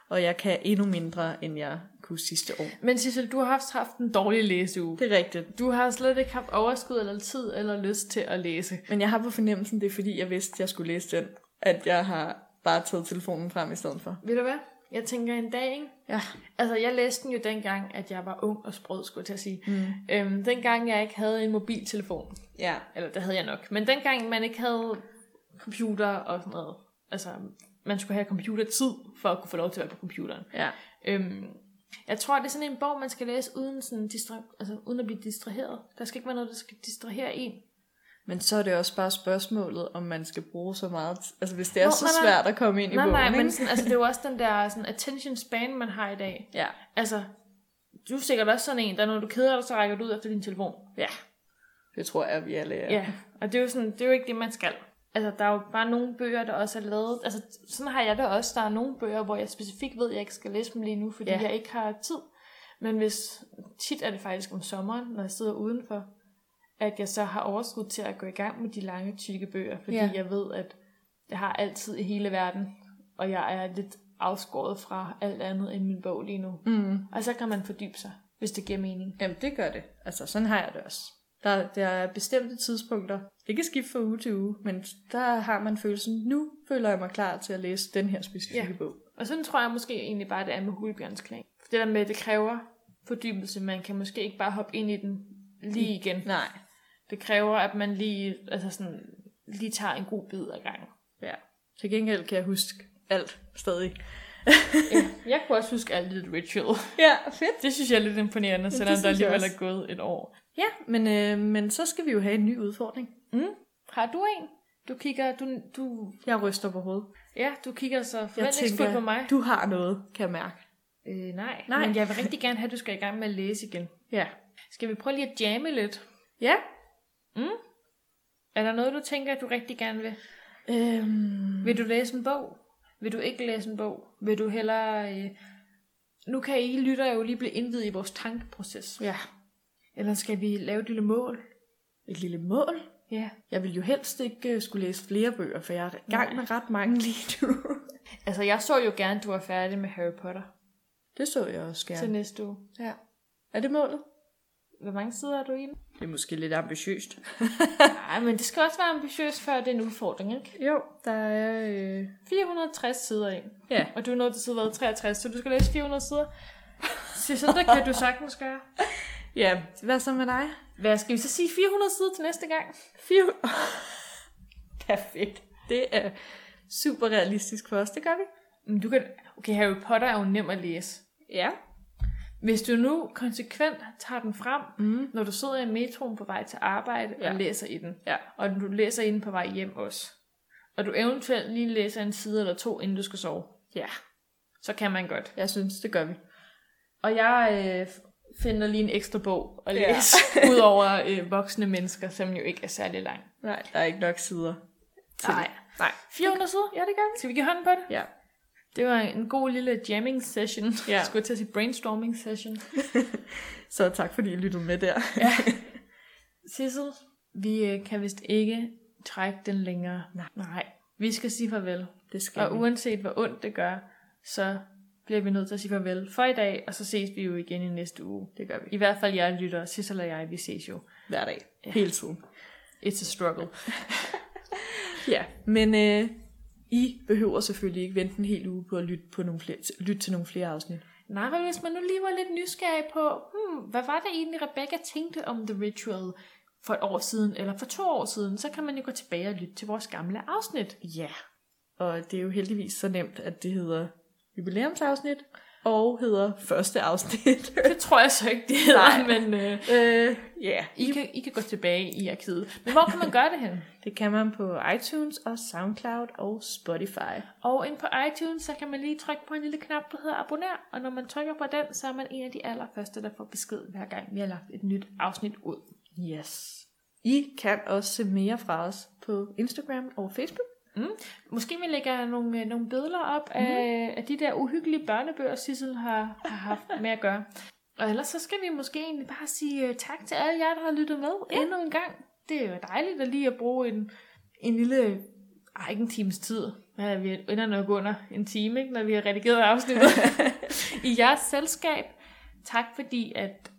S1: Og jeg kan endnu mindre, end jeg kunne sidste år.
S2: Men Sissel, du har haft, haft en dårlig læseuge.
S1: Det er rigtigt.
S2: Du har slet ikke haft overskud eller tid eller lyst til at læse.
S1: Men jeg har på fornemmelsen, det er fordi, jeg vidste, jeg skulle læse den. At jeg har bare taget telefonen frem i stedet for.
S2: Ved du hvad? Jeg tænker en dag, ikke?
S1: Ja.
S2: Altså, jeg læste den jo dengang, at jeg var ung og sprød, skulle jeg til at sige. Mm. Øhm, dengang jeg ikke havde en mobiltelefon.
S1: Ja.
S2: Eller det havde jeg nok. Men dengang man ikke havde computer og sådan noget. Altså, man skulle have computertid, for at kunne få lov til at være på computeren.
S1: Ja.
S2: Øhm, jeg tror, det er sådan en bog, man skal læse uden, sådan distra- altså, uden at blive distraheret. Der skal ikke være noget, der skal distrahere en.
S1: Men så er det også bare spørgsmålet, om man skal bruge så meget... t- Altså, hvis det er
S2: Nå,
S1: så
S2: nej, nej.
S1: svært at komme ind i
S2: Nej,
S1: bogen,
S2: nej,
S1: ikke?
S2: men sådan, altså, det er jo også den der sådan, attention span, man har i dag.
S1: Ja.
S2: Altså, du er sikkert også sådan en, der når du keder dig, så rækker du ud efter din telefon.
S1: Ja. Det tror jeg, vi alle er.
S2: Ja, og det er jo sådan, det er jo ikke det, man skal. Altså, der er jo bare nogle bøger, der også er lavet... Altså, sådan har jeg det også. Der er nogle bøger, hvor jeg specifikt ved, at jeg ikke skal læse dem lige nu, fordi
S1: Ja.
S2: ja. jeg ikke har tid. Men hvis... Tit er det faktisk om sommeren, når jeg sidder udenfor, at jeg så har overskud til at gå i gang med de lange, tykke bøger, fordi
S1: Ja.
S2: ja. jeg ved, at jeg har altid i hele verden, og jeg er lidt afskåret fra alt andet end min bog lige nu.
S1: Mm.
S2: Og så kan man fordybe sig, hvis det giver mening.
S1: Jamen, det gør det. Altså, sådan har jeg det også. Der, der er bestemte tidspunkter. Det kan skifte fra uge til uge, men der har man følelsen, nu føler jeg mig klar til at læse den her specifikke
S2: Ja.
S1: bog.
S2: Og sådan tror jeg måske egentlig bare, det er med Hulbjørns klan. For det der med, at det kræver fordybelse. Man kan måske ikke bare hoppe ind i den lige igen.
S1: Nej.
S2: Det kræver, at man lige, altså sådan, lige tager en god bid ad gangen.
S1: Ja. Til gengæld kan jeg huske alt stadig.
S2: Jeg kunne også huske alt lidt ritual.
S1: Ja, fedt.
S2: Det synes jeg er lidt imponerende, selvom
S1: synes
S2: der
S1: jeg
S2: alligevel
S1: også.
S2: er gået et år.
S1: Ja, men, øh, men så skal vi jo have en ny udfordring.
S2: Har du en? Du kigger, du, du,
S1: Jeg ryster på hovedet.
S2: ja, du kigger så
S1: Jeg
S2: forventningsfuldt på mig.
S1: du har noget, kan jeg mærke.
S2: Øh, nej,
S1: Nej.
S2: nej, men jeg vil rigtig gerne have, at du skal i gang med at læse igen.
S1: Ja.
S2: Skal vi prøve lige at jamme lidt?
S1: Ja.
S2: Er der noget, du tænker, at du rigtig gerne vil?
S1: Øhm,
S2: Vil du læse en bog? Vil du ikke læse en bog? Vil du hellere... Øh... Nu kan I lytter jo lige blive indvidet i vores tankeproces.
S1: ja.
S2: Eller skal vi lave et lille mål?
S1: Et lille mål.
S2: Ja.
S1: Jeg vil jo helst ikke øh, skulle læse flere bøger, for jeg er i gang med ret mange lige nu.
S2: Altså, jeg så jo gerne, at du var færdig med Harry Potter
S1: Det så jeg også
S2: ja.
S1: gerne.
S2: til næste uge.
S1: Ja. Er det målet?
S2: Hvor mange sider er du i den?
S1: Det er måske lidt ambitiøst.
S2: Nej, men det skal også være ambitiøst, før det er en udfordring, ikke?
S1: Jo, der er... Øh...
S2: 460 sider i.
S1: Ja.
S2: Og du er nået til side hvad, 63, så du skal læse 400 sider. Så sådan der kan du sagtens gøre.
S1: Ja, hvad så med dig?
S2: Hvad skal vi så sige? 400 sider til næste gang?
S1: Fiv... Perfekt. Det er super realistisk for os, det gør vi.
S2: Men du kan... Okay, Harry Potter er jo nem at læse.
S1: Ja.
S2: Hvis du nu konsekvent tager den frem, mm. når du sidder i metroen på vej til arbejde ja.
S1: Ja.
S2: og læser i den,
S1: Ja.
S2: og du læser i den på vej hjem også, og du eventuelt lige læser en side eller to, inden du skal sove,
S1: Ja,
S2: så kan man godt.
S1: jeg synes, det gør vi.
S2: Og jeg øh, finder lige en ekstra bog at
S1: Ja.
S2: læse, ja. udover øh, voksne mennesker, som jo ikke er særlig lang.
S1: Nej, der er ikke nok sider.
S2: Nej.
S1: Nej.
S2: 400 sider? Ja, det gør vi. Skal vi give hånden på det?
S1: Ja.
S2: Det var en god lille jamming session.
S1: Ja.
S2: Skulle jeg til at sige brainstorming session.
S1: Så tak, fordi I lyttede med der.
S2: Sissel, vi øh, kan vist ikke trække den længere. Nej. Nej. Vi skal sige farvel.
S1: Det skal
S2: Og
S1: vi.
S2: uanset hvor ondt det gør, så bliver vi nødt til at sige farvel for i dag, og så ses vi jo igen i næste uge.
S1: Det gør
S2: I
S1: vi.
S2: hvert fald jeg lytter, Sissel og jeg, vi ses jo.
S1: Hver dag. Ja. Hele tiden.
S2: It's a struggle.
S1: Ja, men øh, I behøver selvfølgelig ikke vente en hel uge på at lytte, på nogle flere, lytte til nogle flere afsnit.
S2: Nej, men hvis man nu lige var lidt nysgerrig på, hmm, hvad var det egentlig, Rebecca tænkte om The Ritual for et år siden, eller for to år siden, så kan man jo gå tilbage og lytte til vores gamle afsnit.
S1: Ja, og det er jo heldigvis så nemt, at det hedder jubilæumsafsnit og hedder første afsnit.
S2: Det tror jeg så ikke, det hedder,
S1: Nej.
S2: men... Øh,
S1: øh, ja,
S2: I kan, I kan gå tilbage i arkivet. Men hvor kan man gøre det hen?
S1: det kan man på iTunes og Soundcloud og Spotify.
S2: Og ind på iTunes, så kan man lige trykke på en lille knap, der hedder abonner. Og når man trykker på den, så er man en af de allerførste, der får besked, hver gang vi har lagt et nyt afsnit ud.
S1: Yes. I kan også se mere fra os på Instagram og Facebook.
S2: Måske vi lægger nogle, øh, nogle billeder op mm-hmm. af, af de der uhyggelige børnebøger, Sissel har, har haft med at gøre. Og ellers så skal vi måske egentlig bare sige øh, tak til alle jer, der har lyttet med ja. endnu en gang. Det er jo dejligt at lige at bruge en, en lille, ej ikke en times tid, Ja, vi ender nok under en time, ikke, når vi har redigeret afsnittet, i jeres selskab. Tak fordi, at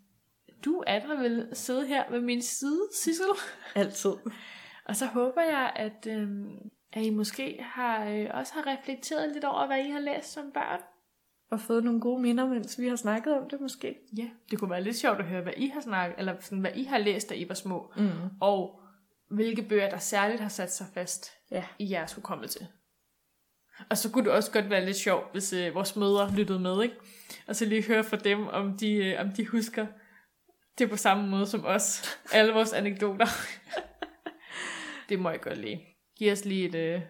S2: du, Adra, vil sidde her ved min side, Sissel.
S1: Altid.
S2: Og så håber jeg, at, øh, at I måske har, øh, også har reflekteret lidt over, hvad I har læst som børn.
S1: Og fået nogle gode minder, mens vi har snakket om det måske.
S2: Ja, det kunne være lidt sjovt at høre, hvad I har snakket, eller sådan, hvad I har læst, da I var små,
S1: Mm.
S2: og hvilke bøger, der særligt har sat sig fast
S1: Ja.
S2: i jeres hukommelse. Og så kunne det også godt være lidt sjovt, hvis øh, vores mødre lyttede med, ikke? Og så lige høre fra dem, om de, øh, om de husker det på samme måde som os. Alle vores anekdoter. det må jeg godt lige. Giv os lige et, øh,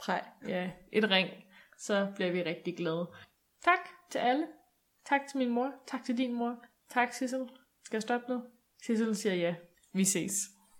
S1: Præg.
S2: ja, et ring, så bliver vi rigtig glade. Tak til alle. Tak til min mor. Tak til din mor. Tak, Sissel. Skal jeg stoppe nu? Sissel siger ja. Vi ses.